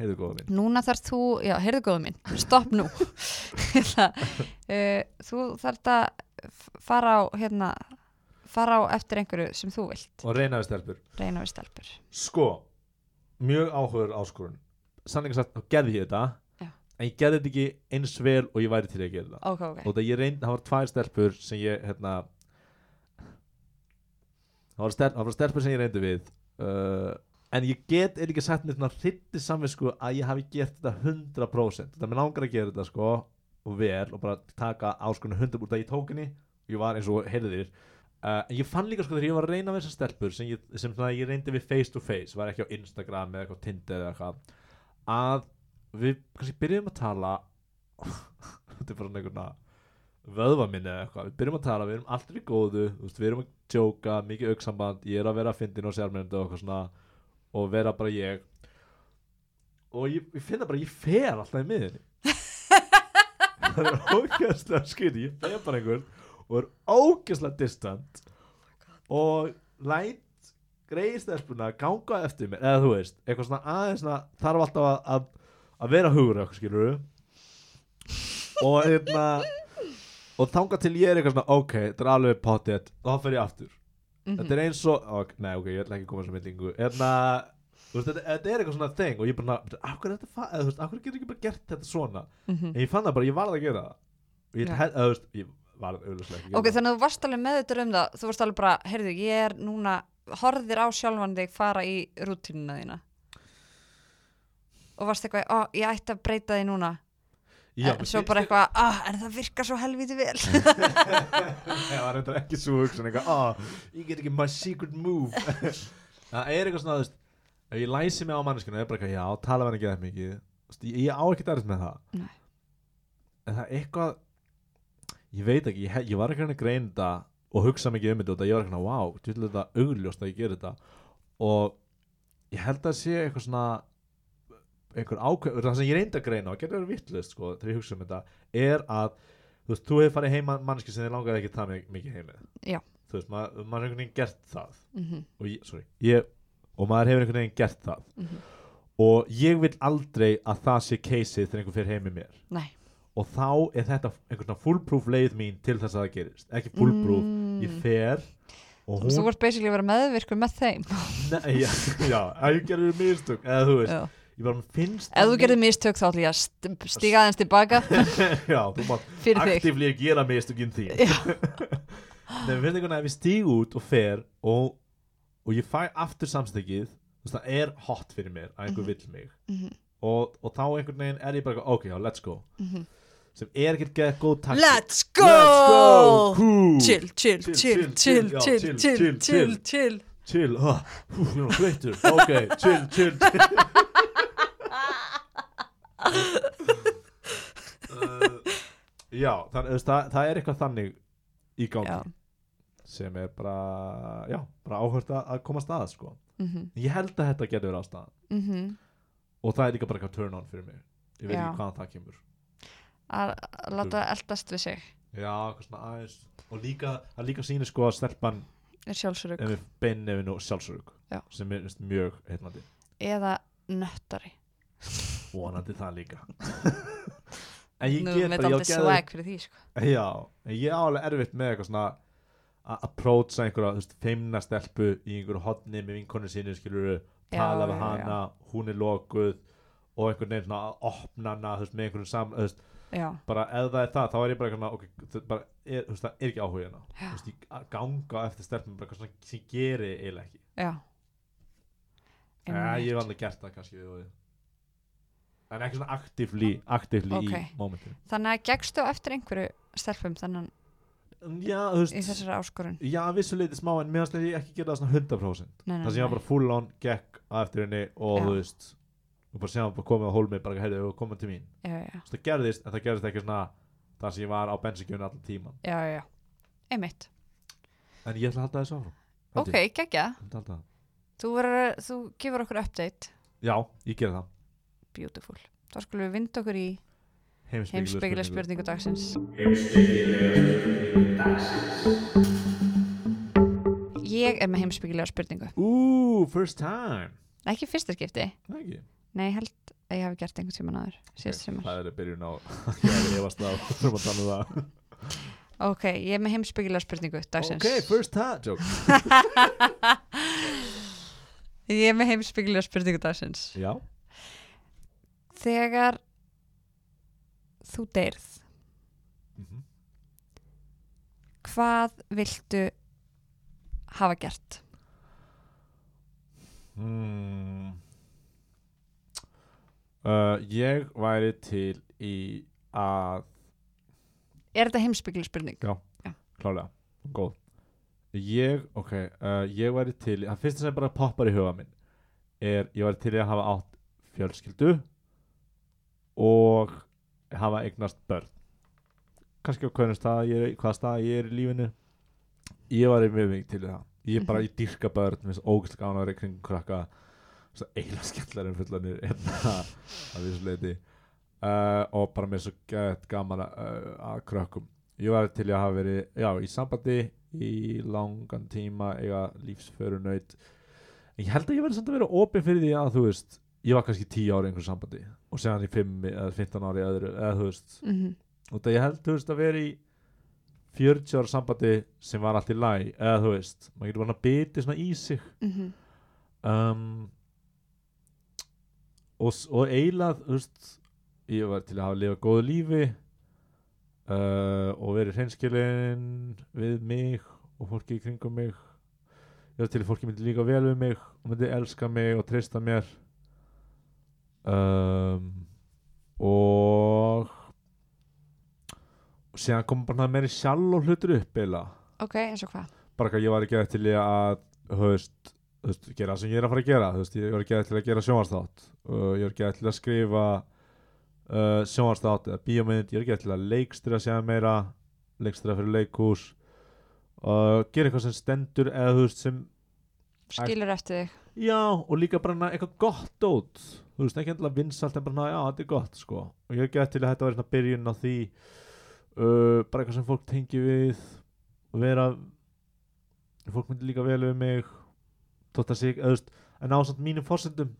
Speaker 1: heyrðu góða mín
Speaker 2: núna þarf þú já, heyrðu góðu mín, stopp nú [LAUGHS] hérna, uh, þú þarf að f- fara á hérna, fara á eftir einhverju sem þú vilt,
Speaker 1: og reyna við stelpur
Speaker 2: reyna við stelpur
Speaker 1: sko, mjög áhugur áskorun sannlega sagt, þá gerði ég þetta
Speaker 2: Já.
Speaker 1: en ég gerði þetta ekki eins vel og ég væri til að gera þetta
Speaker 2: ok, ok,
Speaker 1: og það ég reyndi, það var tvær stelpur sem ég, hérna það var, stel, það var stelpur sem ég reyndi við uh, en ég get er ekki sagt um mér svona hrytti samvið sko að ég hafi gert þetta 100% þetta mér langar að gera þetta sko og vel og bara taka áskunni 100% út að ég tók henni og ég var eins og heyrðir Uh, en ég fann líka sko þegar ég var að reyna við þessar stelpur sem, ég, sem svona, ég reyndi við face to face var ekki á Instagram eða eitthvað Tinder eða eitthvað að við kannski byrjum að tala [LAUGHS] þetta er bara einhverna vöðva minni eða eitthvað, við byrjum að tala, við erum aldrei góðu þú veist, við erum að djóka, mikið auksamband ég er að vera að fyndin og sérmynd og eitthvað svona og vera bara ég og ég, ég finna bara að ég fer alltaf í miðinni það er ógæslega skýri ég fer bara einhvern og er ógæslega distant og læt greiðstelpuna ganga eftir mér eða þú veist, eitthvað svona aðeins svona, þarf alltaf að, að, að vera hugur eitthvað skilur og hérna og þanga til ég er eitthvað svona ok, þetta er alveg potið, þá fer ég aftur
Speaker 2: Mhm.
Speaker 1: þetta er eins og, ok, nei ok, ég ætla ekki að koma sem myndingu, hérna þú veist, þetta, þetta er eitthvað svona þeng og ég bara, af hverju er þetta, fa- eða þú veist, af hverju getur ekki bara gert þetta svona, en ég fann það bara, ég varð að gera það og ég,
Speaker 2: Mhm. Já.
Speaker 1: held- eða þú veist, ég varð auðvitað ekki að gera
Speaker 2: ok,
Speaker 1: það.
Speaker 2: þannig að þú varst alveg meðutur um það þú varst alveg bara, heyrðu, ég er núna horfðir á sjálfan þig fara í rútínuna þína og varst eitthvað, ó, ég ætti að breyta því núna
Speaker 1: Já, Mm.
Speaker 2: en eh, svo
Speaker 1: mér
Speaker 2: bara
Speaker 1: finnst-
Speaker 2: eitthvað, ah, en það virkar svo helviti vel
Speaker 1: Ég var reyndar ekki svo hugsun eitthvað, ah, ég get ekki my secret move Það er eitthvað svona, þú veist Ef ég læsi mig á manneskinu, ég er bara eitthvað, já, tala við hann ekki það mikið Þú veist, Ég, ég á ekki dærið með það
Speaker 2: Nei.
Speaker 1: En það er eitthvað Ég veit ekki, ég, he- ég var ekki hann að greina þetta Og hugsa mikið um þetta út að ég var eitthvað, wow Þú vil þetta augljóst að ég gera þetta Og ég held að sé eitthvað svona einhver ákveð, það sem ég reyndi að greina og getur verið vittlust sko, þegar ég hugsa um þetta er að þú veist, þú hefur farið heima mannski sem þið langaði ekki það mi- mikið heimið
Speaker 2: Já.
Speaker 1: þú veist, maður, maður hefur einhvern veginn gert það
Speaker 2: Mhm,
Speaker 1: og ég, sorry, ég, og maður hefur einhvern veginn gert það
Speaker 2: mhm.
Speaker 1: og ég vil aldrei að það sé keisið þegar einhver fyrir heimið mér
Speaker 2: [LAUGHS] nei,
Speaker 1: og þá er þetta einhvern veginn fullproof leið mín til þess að það gerist, ekki fullproof ég fer og
Speaker 2: Mm. þú
Speaker 1: hún,
Speaker 2: varst basically að vera meðvirkur með þeim
Speaker 1: nei, [LAUGHS] já, já að ég gerði mistök, eða þú veist
Speaker 2: Já.
Speaker 1: ég bara finnst
Speaker 2: ef þú
Speaker 1: það
Speaker 2: gerði mistök þá ætla ég að st- stíga aðeins tilbaka
Speaker 1: mikið- [LAUGHS] já, þú mátt
Speaker 2: fyrir þig
Speaker 1: aktíflega gera mistökin þín [LAUGHS] Nei, mér finnst einhvern veginn að ef ég stíg út og fer og, og ég fæ aftur samstökið þú veist það er hot fyrir mér að einhver vill mig
Speaker 2: Mhm.
Speaker 1: og, og þá einhvern veginn er ég bara eitthvað, ok, já, let's go
Speaker 2: Mhm.
Speaker 1: sem er ekkert geða góð taktik
Speaker 2: let's
Speaker 1: Let's go,
Speaker 2: go
Speaker 1: cool,
Speaker 2: chill, chill,
Speaker 1: Chill,
Speaker 2: chill, chill, chill, chill, chill, chill
Speaker 1: chill ah, hú, ég er nú sveittur, ok, chill, chill, chill uh, Já, þannig, þú veist, það, það er eitthvað þannig í gangi
Speaker 2: já,
Speaker 1: sem er bara, já, bara áhört að, að koma staða sko.
Speaker 2: [LAUGHS] mhm,
Speaker 1: Ég held að þetta getur verið ástæðan
Speaker 2: mhm
Speaker 1: og það er líka bara eitthvað turn on fyrir mig ég veit
Speaker 2: Já.
Speaker 1: ekki hvaðan það kemur
Speaker 2: að að láta eldast við sig
Speaker 1: Já, eitthvað svona aðeins og líka, það líka sýnir sko að stelpan
Speaker 2: er sjálfsörug
Speaker 1: ef við beinnefinu og sjálfsörug
Speaker 2: Já.
Speaker 1: sem er veist, mjög heitnandi
Speaker 2: eða nöttari
Speaker 1: vonandi það líka en ég
Speaker 2: nú
Speaker 1: get
Speaker 2: með
Speaker 1: bara, ég á
Speaker 2: aldrei
Speaker 1: geðveik-
Speaker 2: swag fyrir því sko.
Speaker 1: Já, en ég á alveg erfitt með eitthvað svona að approacha einhverja, þú veist, feimna stelpu í einhverju hotni með vinkonu sínu, skilur
Speaker 2: Já,
Speaker 1: tala
Speaker 2: já,
Speaker 1: við hana, hún er lokuð og einhvern veginn svona að opna hana, þú veist, með einhverjum saman, þú veist,
Speaker 2: já,
Speaker 1: bara ef það er það, þá er ég bara eitthvað, svona, ok, þú- bara, er, þú veist, það er ekki áhuga hérna, þú veist, ég að ganga á eftir stelpum, bara eitthvað svona sem ég geri eiginlega ekki.
Speaker 2: já
Speaker 1: Ja, ég hef alveg gert það kannski, þú veist, en ekki svona aktivli, aktivli
Speaker 2: Ok.
Speaker 1: í momentinu.
Speaker 2: þannig að gekkstu á eftir einhverju stelpum þannig
Speaker 1: Já, þú
Speaker 2: í
Speaker 1: veist,
Speaker 2: þessari áskorun
Speaker 1: já, að vissu leiti smá, en mér finnst ég ekki gera það svona 100%.
Speaker 2: nei, nei,
Speaker 1: það sem ég var
Speaker 2: nei.
Speaker 1: bara full on gekk á eftir henni og
Speaker 2: Mm. Já.
Speaker 1: þú veist og bara sem hann bara komið á hólmi bara heyrðu og komið til mín
Speaker 2: já, já,
Speaker 1: Svo það gerðist en það gerðist ekki svona þar sem ég var á bensinkjöfni allan tíman
Speaker 2: já, já, já. einmitt
Speaker 1: en ég ætla að halda þessu áfram held
Speaker 2: ok,
Speaker 1: ég.
Speaker 2: geggja,
Speaker 1: Ég ætla að halda það.
Speaker 2: þú, verður- þú gefur okkur update
Speaker 1: já, ég gerði það
Speaker 2: beautiful, þá skulum við vinda okkur í
Speaker 1: heimspekileg
Speaker 2: heimsbyggilega spurningu dagsins heimsbyggilega ég er með heimsbyggilega spurningu
Speaker 1: Ú, first time
Speaker 2: ekki fyrsta skipti,
Speaker 1: Það ekki
Speaker 2: nei ég held að ég hafi gert einhvern tíma náður síðast sumar
Speaker 1: Það er byrjun á [LAUGHS] Ég hefði efast á [LAUGHS] Þurfum að tala um það
Speaker 2: ok, ég er með heimsbyggilega spurningu dagsins
Speaker 1: Ok, first time Joke
Speaker 2: ég er með heimsbyggilega spurningu dagsins
Speaker 1: Já
Speaker 2: þegar þú deyrð
Speaker 1: Mhm.
Speaker 2: hvað viltu hafa gert
Speaker 1: mm. uh, Ég væri til í að
Speaker 2: er þetta heimsbyggileg spurning?
Speaker 1: Klálega, góð Ég, ok, uh, ég væri til í- Það fyrsta sem bara poppar í huga minn Er, ég væri til í að hafa átt fjölskyldu Og hafa eignast börn Kannski á hvernig stað ég er í- Hvaða stað ég er í lífinu Ég væri mjög mikið til í það Ég bara, ég dýrka börn, mér finnst ógæslega gánaður í kringum krakka Svo eiginlega skemmtlar en fullanir Enna að þessu leiti uh, Og bara mér er svo gett gaman að, uh, að krökkum Ég var til í að hafa verið já, í sambandi í langan tíma eiga lífsförunaut En ég held að ég verið samt að vera opið fyrir því að þú veist ég var kannski 10 ári í einhverjum sambandi og segðan í 5 eða 15 ári öðru eða þú veist
Speaker 2: Mm
Speaker 1: og það ég held þú veist að vera í 40 ára sambandi sem var allt í læ eða þú veist maður getur bara að biti svona í sig
Speaker 2: mhm.
Speaker 1: um, og, s- og eiginlega þú veist, ég var til að hafa lifað góðu lífi uh, og verið hreinskilin við mig og fólki í kringum mig ég var til að fólki myndi líka vel við mig og myndi elska mig og treysta mér um, og og síðan kom bara meiri sjálf og hlutur upp eiginlega
Speaker 2: ok, eins og hvað?
Speaker 1: bara hvað ég var ekki til í að höfst, höfst, gera það sem ég er að fara að gera höfst, ég var ekki til að gera sjónvarsþátt uh, ég var ekki til að skrifa uh, sjónvarsþátt eða bíómynd ég var ekki til að leikstýra sér meira leikstýra fyrir leikhús uh, gera eitthvað sem stendur eða þú veist sem
Speaker 2: skilur eftir þig
Speaker 1: Já, og líka bara ná eitthvað gott út Þú veist, ekki endilega vinsalt en bara ná, já, þetta er gott, sko Og ég hef gett til að þetta væri svona byrjun á því uh, Bara eitthvað sem fólk tengi við Og vera Fólk myndi líka vel við mig Þótt að sig, eða þú veist En ásamt mínum fórsendum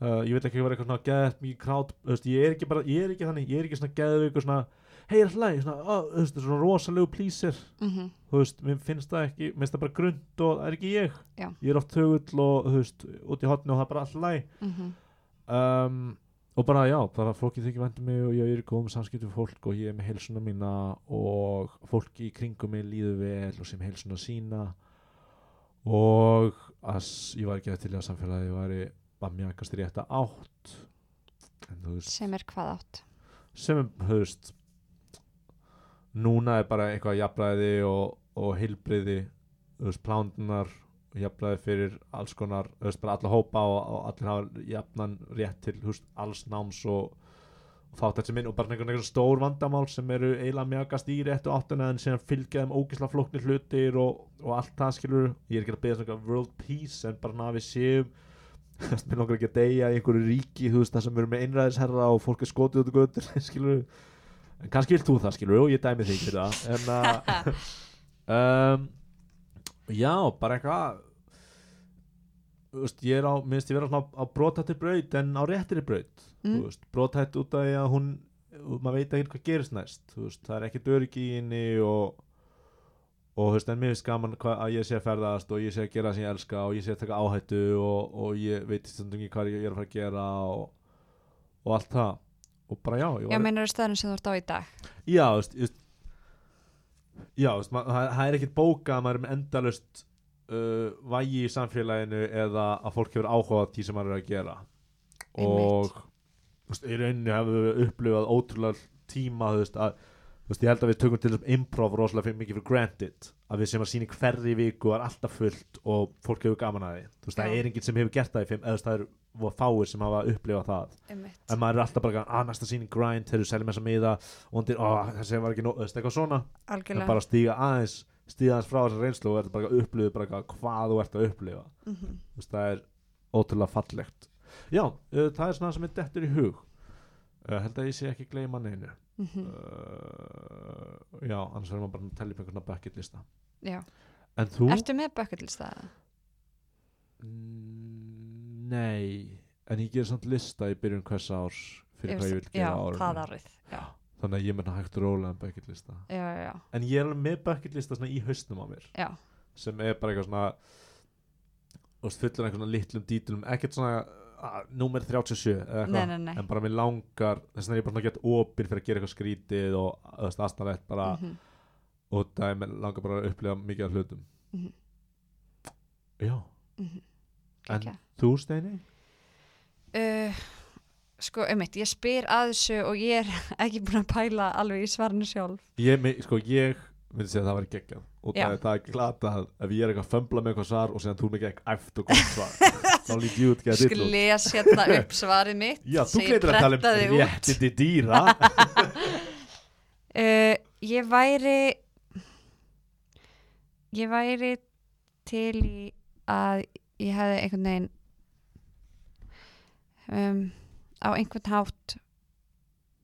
Speaker 1: uh, Ég vil ekki vera eitthvað svona geðt mikið krát Þú veist, ég er ekki bara, ég er ekki þannig Ég er ekki svona geðið eitthvað svona Hei, er hlæg, svona, ó, þú veist, svona rosalegu plísir
Speaker 2: mm
Speaker 1: þú veist, mér finnst það ekki, mér finnst það bara grund og það er ekki ég,
Speaker 2: Já.
Speaker 1: ég er oft högull og þú veist, út í hotni og það er bara alltaf læg
Speaker 2: mhm.
Speaker 1: um, og bara já, bara fólki þykir væntum mig og ég er í góðum samskiptum við fólk og ég er með heilsuna mína og fólki í kringum mig líður vel og sem heilsuna sína og að s- ég var ekki að til að samfélagi var ég var mjög ekkast í rétta átt en þú veist
Speaker 2: sem er hvað átt
Speaker 1: sem er, höfst núna er bara eitthvað jafnræði og, og heilbriði höfst, plándunar jafnræði fyrir alls konar höfst, bara alla hópa og, og allir hafa jafnan rétt til höfst, alls náms og, og þátt þessi minn og bara einhvern veginn stór vandamál sem eru eiginlega mjagast í réttu áttina en síðan fylgja þeim ógisla flóknir hlutir og, og allt það skilur ég er ekki að beða svona eitthvað um world peace en bara að við séum [LAUGHS] Þú veist, mér langar ekki að deyja í einhverju ríki þú veist það sem eru með einræðisherra og fólk er skotið út og göttur [LAUGHS] skilur en kannski vilt þú það skilur og ég dæmi þig fyrir það en að um, já bara eitthvað þú veist ég er á minnst ég vera svona á, á brotætti braut en á réttri braut mm.
Speaker 2: Mm.
Speaker 1: veist, brotætt út af því að hún maður veit ekki hvað gerist næst þú veist, það er ekkert öryggi í henni og og þú veist, en mér finnst gaman hvað, að ég sé að ferðast og ég sé að gera það sem ég elska og ég sé að taka áhættu og, og ég veit stundum ekki hvað ég er að fara að gera og, og allt það og bara já, ég
Speaker 2: já,
Speaker 1: var,
Speaker 2: meinar stöðunum sem þú ert á í dag
Speaker 1: já, þú veist, ég veist já, þú veist, ma- það það er ekkit bóka að maður er með endalust uh, vægi í samfélaginu eða að fólk hefur áhuga á því sem maður er að gera og þú veist, í rauninni hefur við upplifað ótrúlega tíma þú veist, að, þú veist, ég held að við tökum til þessum improv rosalega fyrir mikið fyrir granted að við sem að sína í hverri viku og er alltaf fullt og fólk hefur gaman að því þú veist, það
Speaker 2: Já.
Speaker 1: er enginn sem hefur gert það í fimm eða þú veist, það eru voða fáir sem hafa upplifað það
Speaker 2: einmitt,
Speaker 1: en maður er alltaf bara að næsta síning grind þegar þú seljum þessa miða og undir, ó, þessi var ekki nóg, þú veist, eitthvað svona en
Speaker 2: algjörlega
Speaker 1: bara stíga aðeins stíga aðeins frá þessa reynslu og verður bara að upplifa bara eitthvað hvað þú ert að upplifa
Speaker 2: mm -hmm.
Speaker 1: Þú veist, það er ótrúlega fallegt já, uh, það er svona sem er dettur í hug uh, held að ég sé ekki gleyma neinu
Speaker 2: Mhm, Mm.
Speaker 1: uh, já, annars verður maður bara að tella upp einhvern bucket lista
Speaker 2: já,
Speaker 1: en þú?
Speaker 2: Ertu með bucket list það?
Speaker 1: Mm, Nei, en ég ger samt lista í byrjun hvers árs fyrir hvað ég vil
Speaker 2: Já,
Speaker 1: gera á árinu
Speaker 2: það árið Já,
Speaker 1: þannig að ég menna hægt rólega en bucket lista
Speaker 2: já, já, já,
Speaker 1: en ég er alveg með bucket lista svona í hausnum á mér
Speaker 2: já.
Speaker 1: sem er bara eitthvað svona þú veist, fullur einhvern svona litlum dítilum ekkert svona uh, númer 37 eða
Speaker 2: Nei,
Speaker 1: eitthvað
Speaker 2: nei, nei
Speaker 1: en bara mér langar þess vegna er ég bara svona gett opinn fyrir að gera eitthvað skrítið og þú veist, astanlegt bara
Speaker 2: Mhm.
Speaker 1: og það er mér langar bara að upplifa mikið af hlutum
Speaker 2: Mhm.
Speaker 1: já,
Speaker 2: Mhm.
Speaker 1: en
Speaker 2: Geggjað.
Speaker 1: þú Steini?
Speaker 2: Uh, sko, einmitt, ég spyr að þessu og ég er [LAUGHS] ekki búin að pæla alveg í svarinu sjálf.
Speaker 1: Ég, me- sko, ég myndi segja að það væri geggjað og það,
Speaker 2: Já.
Speaker 1: er- það er glatað ef ég er eitthvað að fömbla með eitthvað svar og segja þú er mikið ekki eftir gott
Speaker 2: [LAUGHS]
Speaker 1: svar þá lít ég út
Speaker 2: Ég
Speaker 1: geða
Speaker 2: skal
Speaker 1: dill út
Speaker 2: les hérna upp svarið mitt
Speaker 1: Já, þú
Speaker 2: sem ég
Speaker 1: gleitir að tala
Speaker 2: prentaði
Speaker 1: um
Speaker 2: út.
Speaker 1: réttindi
Speaker 2: [LAUGHS]
Speaker 1: dýra
Speaker 2: Uh, ég væri ég væri til í að ég hefði einhvern veginn um, á einhvern hátt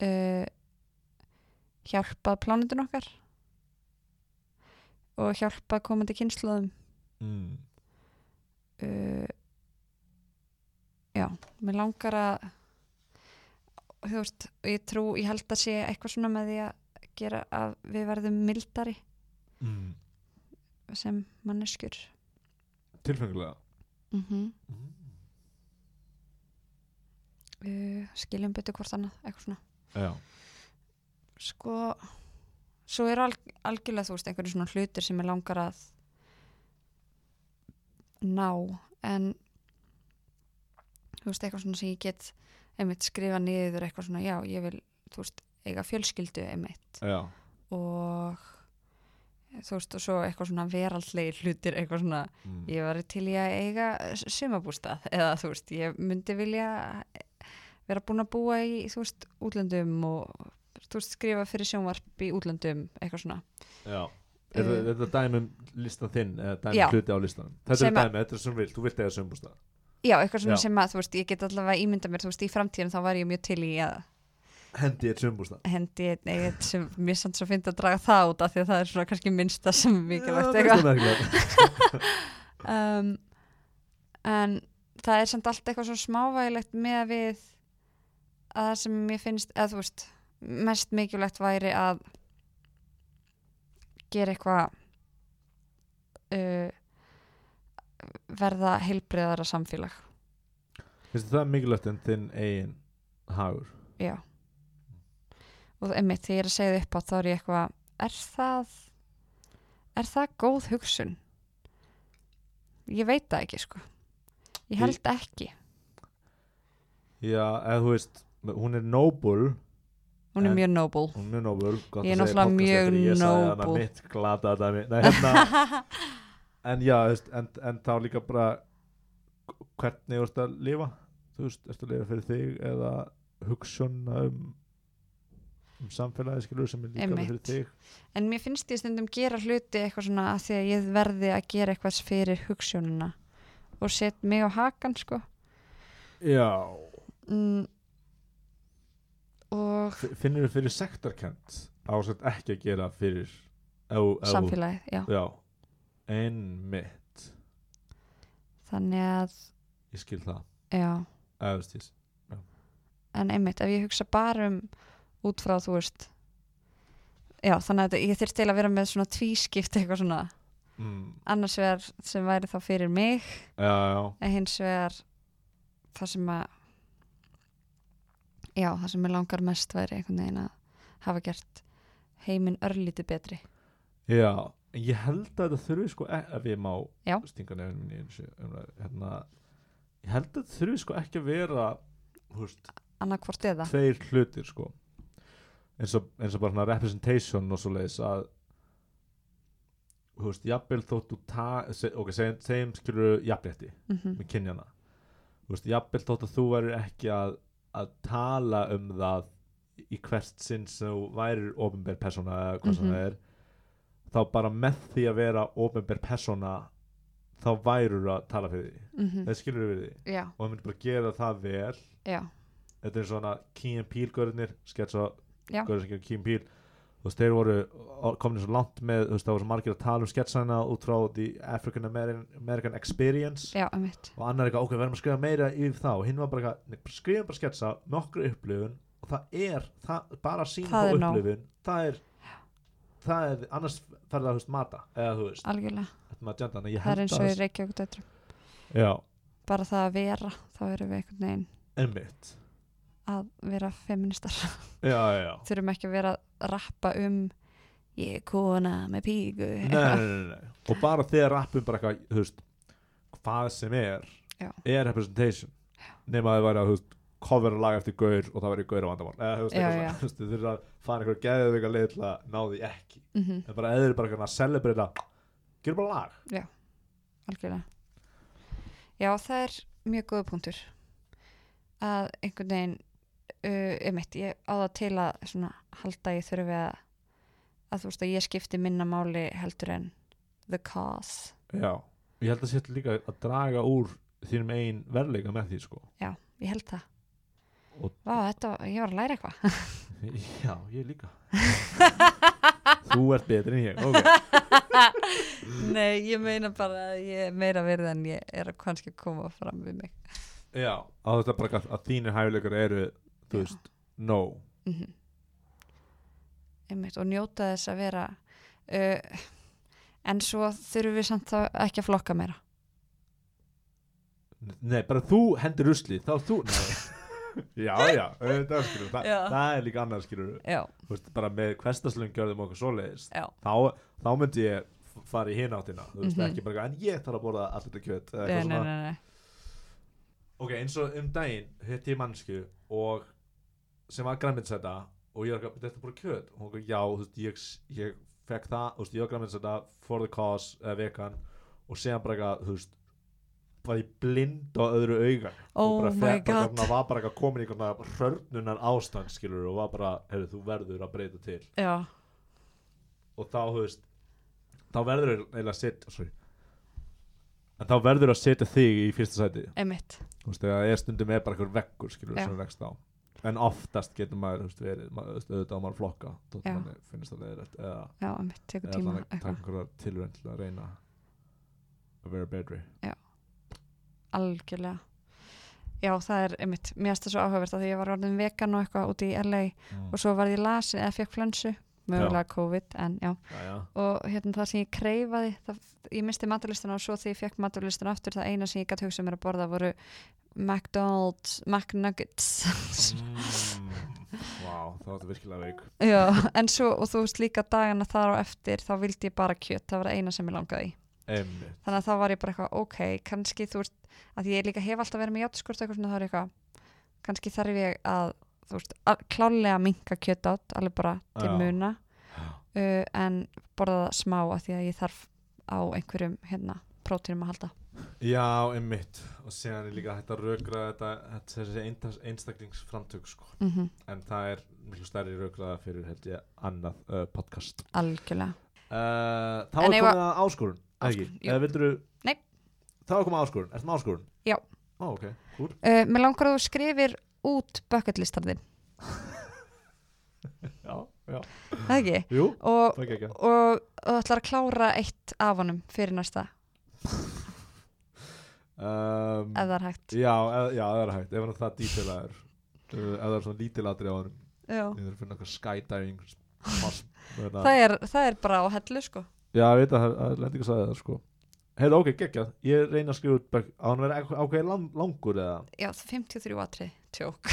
Speaker 2: uh, hjálpað plánundin okkar og hjálpað komandi kynsluðum
Speaker 1: mm.
Speaker 2: uh, já, mér langar að þú veist, ég trú, ég held að sé eitthvað svona með því að gera að við verðum mildari
Speaker 1: Mm.
Speaker 2: sem manneskjur
Speaker 1: Tilfengilega
Speaker 2: mm
Speaker 1: mm.
Speaker 2: uh, skiljum betur hvort annað, eitthvað svona
Speaker 1: Já,
Speaker 2: sko, svo eru alg algjörlega þú veist, einhverju svona hlutir sem ég langar að ná en þú veist, eitthvað svona sem ég get einmitt skrifa niður eitthvað svona, já, ég vil þú veist, eiga fjölskyldu einmitt
Speaker 1: já,
Speaker 2: og þú veist, og svo eitthvað svona veraldlegi hlutir, eitthvað svona
Speaker 1: mm.
Speaker 2: ég var til í að eiga sumabústað eða þú veist, ég myndi vilja vera búin að búa í þú veist, útlöndum og þú veist, skrifa fyrir sjónvarp í útlöndum eitthvað svona,
Speaker 1: já. Er, uh,
Speaker 2: Uh.
Speaker 1: Þetta dæmi um listan þinn eða dæmi
Speaker 2: Já.
Speaker 1: um hluti á listanum Þetta
Speaker 2: Sem
Speaker 1: er
Speaker 2: að-
Speaker 1: dæmi, þetta er sem þú vilt, þú vilt eða sömbústa
Speaker 2: já, eitthvað svona
Speaker 1: Já.
Speaker 2: sem að þú veist, ég get allavega ímynda mér, þú veist, í framtíðin þá var ég mjög til í að
Speaker 1: Hendi eitt sömbústa
Speaker 2: hendi einn eitt sem mér samt svo fyndi að draga það út af því að það er svona kannski minnsta sem er mikilvægt eitthvað um, en það er samt allt eitthvað svo smávægilegt með að við að það sem mér finnst eða þú veist, mest mikilvægt væri að gera eitthvað uh, verða heilbriðara samfélag
Speaker 1: Finnst það mikilvægt en þinn eigin hagur
Speaker 2: já og einmitt, þegar ég er að segja það upp á þá er ég eitthvað, er það er það góð hugsun ég veit það ekki sko ég held ekki,
Speaker 1: Já, eða þú veist, hún er nóbul
Speaker 2: hún er
Speaker 1: En-
Speaker 2: mjög noble [LAUGHS]
Speaker 1: Hún er mjög nóbul gott
Speaker 2: Ég er
Speaker 1: að segja í
Speaker 2: náttúrulega
Speaker 1: podcasti þegar Ég
Speaker 2: mjög
Speaker 1: sagði hana
Speaker 2: nóbul.
Speaker 1: mitt glata dæmi Nei, hérna, En já, þú veist, en, en þá líka bara hvernig þú ert að lifa Þú veist, ertu að lifa fyrir þig eða hugsunna um um samfélagi skilur sem er líka alveg fyrir
Speaker 2: Einmitt.
Speaker 1: þig
Speaker 2: En mér finnst ég stundum gera hluti eitthvað svona að því að ég verði að gera eitthvað fyrir hugssjónina og set mig á hakan sko
Speaker 1: Já,
Speaker 2: mm. og
Speaker 1: finnur þú fyrir sektarkent ásett ekki að gera fyrir ef, ef,
Speaker 2: samfélagið, já.
Speaker 1: Já, einmitt
Speaker 2: Þannig að,
Speaker 1: Ég skil það
Speaker 2: já,
Speaker 1: eða, þú veist, ég,
Speaker 2: en einmitt ef ég hugsa bara um út frá þú veist Já, þannig að þetta- ég þyrst til að vera með svona tvískipt eitthvað svona
Speaker 1: mm,
Speaker 2: annars vegar sem væri þá fyrir mig
Speaker 1: Já, já
Speaker 2: en hins vegar það sem að já, það sem mér langar mest væri einhvern veginn að hafa gert heiminn örlítið betri
Speaker 1: Já, en ég held að þetta þurfi sko e- ef ég má
Speaker 2: Já.
Speaker 1: stinga nefnum minni eins og umræðu, hérna, ég held að þetta þurfi sko ekki að vera þú veist,
Speaker 2: annarkvort eða
Speaker 1: tveir hlutir sko eins og, eins og bara svona representation og svo leiðis að þú veist, jafnvel þótt þú ta, se, ok, segjum, segjum skilur jafnrétti
Speaker 2: mm -hmm.
Speaker 1: með kynjana þú veist, jafnvel þótt að þú verður ekki að, að tala um það í hvert sinn sem þú værir ofinber persóna eða hvað sem
Speaker 2: Mhm.
Speaker 1: það er þá bara með því að vera ofinber persóna þá værur að tala fyrir því það skilur við því
Speaker 2: já,
Speaker 1: og það myndi bara gera það vel
Speaker 2: já,
Speaker 1: þetta er svona Key and Peele görðinir sketsa
Speaker 2: Já.
Speaker 1: görður sem gerir Key and Peele þú veist, þeir voru komin svo langt með, þú veist, það voru svo margir að tala um sketsana út frá The African American, American Experience
Speaker 2: já, um mitt
Speaker 1: og annar eitthvað, ok, við verðum að skrifa meira yfir þá og hinn var bara eitthvað, nei, bara skrifum bara sketsa nokkur upplifun og það er það, bara sín
Speaker 2: Það
Speaker 1: á
Speaker 2: er nóg.
Speaker 1: upplifun það er, það er annars ferða að þú veist mata, eða þú veist
Speaker 2: algjörlega,
Speaker 1: þetta maður djönda, þannig að ég
Speaker 2: það er
Speaker 1: held
Speaker 2: eins og í
Speaker 1: að
Speaker 2: Reykjavík dætrum,
Speaker 1: já,
Speaker 2: bara það að vera þá erum við einhvern veginn
Speaker 1: emmitt
Speaker 2: að vera feministar
Speaker 1: já, já, já,
Speaker 2: [LAUGHS] þurfum ekki að vera að rappa um ég er kona með píku
Speaker 1: nei, nei, nei, nei, nei og bara þegar rappum bara eitthvað, þú veist hvað sem er,
Speaker 2: Já.
Speaker 1: er representation nema að það væri að, þú veist cover lag eftir gaur og það væri gaur á vandamál eða þú veist,
Speaker 2: Já,
Speaker 1: eitthvað
Speaker 2: já.
Speaker 1: svona, þú veist, þú þurfir að fara einhver geðið eitthvað leið til að ná því ekki
Speaker 2: mm
Speaker 1: en bara eða eru bara eitthvað að celebrita gerur bara lag
Speaker 2: algjörlega já það er mjög góða punktur að einhvern veginn uh, einmitt, ég á það til að svona, halda að ég þurfi að að þú veist að ég skipti minna máli heldur en the cause
Speaker 1: já. ég held að sér líka að draga úr þínum einn verðleika með því sko
Speaker 2: já, ég held það
Speaker 1: Og-
Speaker 2: Vá, þetta, ég var að læra eitthvað
Speaker 1: [LAUGHS] já, ég líka [LAUGHS] þú ert betri en ég ok,
Speaker 2: [LAUGHS] Nei, ég meina bara að ég er meira verið en ég er að kannski koma fram við mig
Speaker 1: [LAUGHS] já, að þetta bara að, að þínir hæfileikar eru þú
Speaker 2: Já.
Speaker 1: veist, no
Speaker 2: mm einmitt, og njóta þess að vera uh, en svo þurfum við samt þá ekki að flokka meira
Speaker 1: nei, bara þú hendur usli þá þú, nei [LAUGHS] Já, já, það, skilur, það,
Speaker 2: Já.
Speaker 1: það er líka annað skilur
Speaker 2: já,
Speaker 1: veist, bara með hverstaslum gjörðum okkur svoleiðist
Speaker 2: já,
Speaker 1: þá, þá myndi ég f- fara í hináttina þú veist,
Speaker 2: Mhm.
Speaker 1: ekki bara, en ég þarf að borða allt þetta kjöt eða eitthvað
Speaker 2: nei, nei,
Speaker 1: svona.
Speaker 2: nei, nei.
Speaker 1: ok, eins og um daginn hitt ég mannsku og sem var græmiðsæta og ég var ekki, þetta er bara kjöt og hún var, já, þú veist, ég, ég fekk það, þú veist, ég var græmiðsæta for the cause, uh, vegan og séðan bara eitthvað, þú veist var ég blind á öðru auga
Speaker 2: Oh
Speaker 1: og hérna. bara
Speaker 2: my
Speaker 1: fekk, bara,
Speaker 2: God.
Speaker 1: svona, var bara eitthvað komin í eitthvað hrörnunar ástand, skilur og var bara, heyrðu, þú verður að breyta til
Speaker 2: já,
Speaker 1: og þá, þú veist þá verður eiginlega að setja sorry. en þá verður að setja þig í fyrsta sæti
Speaker 2: einmitt
Speaker 1: þú veist, þegar það er stundum er bara einhver veggur skilur
Speaker 2: Já.
Speaker 1: sem vext á en oftast getur maður, þú veist, verið maður, þú veist, auðvitað á maður að flokka þótt
Speaker 2: Já.
Speaker 1: manni finnst það leiðilegt eða,
Speaker 2: já, einmitt, tekur
Speaker 1: eða
Speaker 2: tíma
Speaker 1: þannig að taka
Speaker 2: eitthvað.
Speaker 1: einhverja tilraun til að reyna að vera betri
Speaker 2: algjörlega já, það er einmitt, mér finnst það svo áhugavert að því ég var orðin vegan og eitthvað úti í LA og
Speaker 1: mm.
Speaker 2: svo varð ég lasin eða fekk flensu mögulega COVID, en já
Speaker 1: já, já,
Speaker 2: og hérna það sem ég kreifaði það, ég misti maturlistuna og svo þegar ég fekk maturlistuna aftur það eina sem ég gæti hugsað mér að borða voru McDonald's, McNuggets [LAUGHS]
Speaker 1: mm. wow, þá er þetta virkilega veik
Speaker 2: já, en svo og þú veist líka dagana þar á eftir þá vildi ég bara kjöt, það var það eina sem ég langaði í
Speaker 1: einmitt,
Speaker 2: þannig að þá var ég bara eitthvað, ok, kannski þú veist, að ég líka hef alltaf verið með játskort eitthvað svona, þá er ég eitthvað, kannski þarf ég að, þú veist, að, klálega minka kjöt átt, alveg bara til
Speaker 1: Já.
Speaker 2: muna uh, en borða það smá að því að ég þarf á einhverjum, hérna, prótínum að halda
Speaker 1: já, einmitt og síðan er líka hægt að rökra þetta, þetta þessi eintas- einstaklingsframtök sko.
Speaker 2: mm
Speaker 1: en það er miklu stærri rökraða fyrir held ég annað uh, podcast
Speaker 2: algjörlega,
Speaker 1: uh, þá
Speaker 2: En
Speaker 1: er
Speaker 2: eigum
Speaker 1: komið að áskorun eða ekki,
Speaker 2: Áskorun, jú.
Speaker 1: eða vildur
Speaker 2: Nei.
Speaker 1: þá er komið að áskorun, ertu með áskorun?
Speaker 2: Já.
Speaker 1: ó, ok, húr
Speaker 2: uh, mér langar að þú skrifir út bucketlistarðin,
Speaker 1: já, já,
Speaker 2: það ekki
Speaker 1: jú,
Speaker 2: og,
Speaker 1: það er ekki
Speaker 2: og, og ætlar að klára eitt af honum fyrir næsta,
Speaker 1: um,
Speaker 2: ef það er hægt
Speaker 1: já, eð, já, það er hægt, ef hann er það dítilaður ef það er svona lítilatri á hann
Speaker 2: já.
Speaker 1: ég þarf að finna eitthvað skydiving pass, það
Speaker 2: það er, það er bara á hellu sko
Speaker 1: já, ég veit að það lendi ekki að sagði það sko heyrðu, ok, geggjað, ég reyna að skrifa út bak- á hann verið ákveðið lang, langur eða
Speaker 2: já, 53 atrið,
Speaker 1: [LAUGHS]
Speaker 2: tjók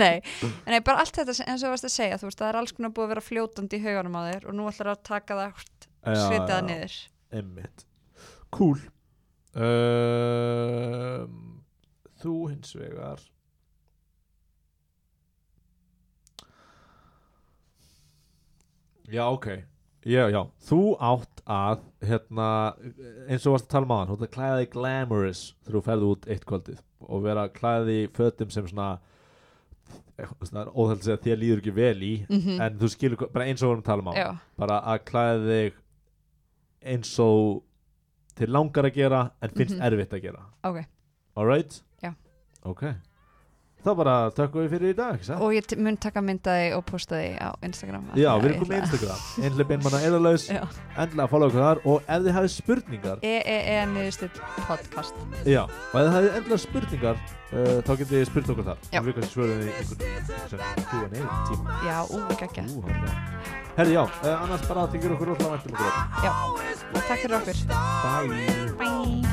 Speaker 2: nei, nei, bara allt þetta sem- eins og þú varst að segja, þú veist, það er alls konar búið að vera fljótandi í hauganum á þér og nú ætlar að taka það hvort svita það niður
Speaker 1: Emmitt Cool um, Þú hins vegar Já, ok Já, já, þú átt að hérna, eins og varst að tala um aðan þú átt að klæða þig glamorous þegar þú ferði út eitt kvöldið og vera að klæða þig í fötum sem svona óþælt að segja þér líður ekki vel í
Speaker 2: mm
Speaker 1: en þú skilur, hvað- bara eins og vorum að tala um aðan
Speaker 2: já,
Speaker 1: bara að klæða þig eins og þið langar að gera en finnst
Speaker 2: Mhm.
Speaker 1: erfitt að gera
Speaker 2: ok,
Speaker 1: alright?
Speaker 2: Já.
Speaker 1: ok þá bara tökum við fyrir í dag ekki satt?
Speaker 2: og ég t- mun taka myndaði og postaði á Instagram af
Speaker 1: Já,
Speaker 2: því að
Speaker 1: við
Speaker 2: ég
Speaker 1: erum komið
Speaker 2: ætla-
Speaker 1: Instagram Einhleip einmanna eðalaus
Speaker 2: Já.
Speaker 1: Endilega follow okkur þar Og ef þið hafið spurningar
Speaker 2: E EEE niðurstill podcast
Speaker 1: Já, og ef þið hafið endilega spurningar uh, Þá getið þið spurt okkur þar
Speaker 2: Já.
Speaker 1: Og við kannski svöruðum í einhvern sem Q&A tíma
Speaker 2: já, ú, geggja,
Speaker 1: Ú, hann er það. Herri, já, eh, um uh, annars bara þykir okkur rosalega væntum okkur öll.
Speaker 2: já, takk fyrir okkur
Speaker 1: Bye
Speaker 2: bye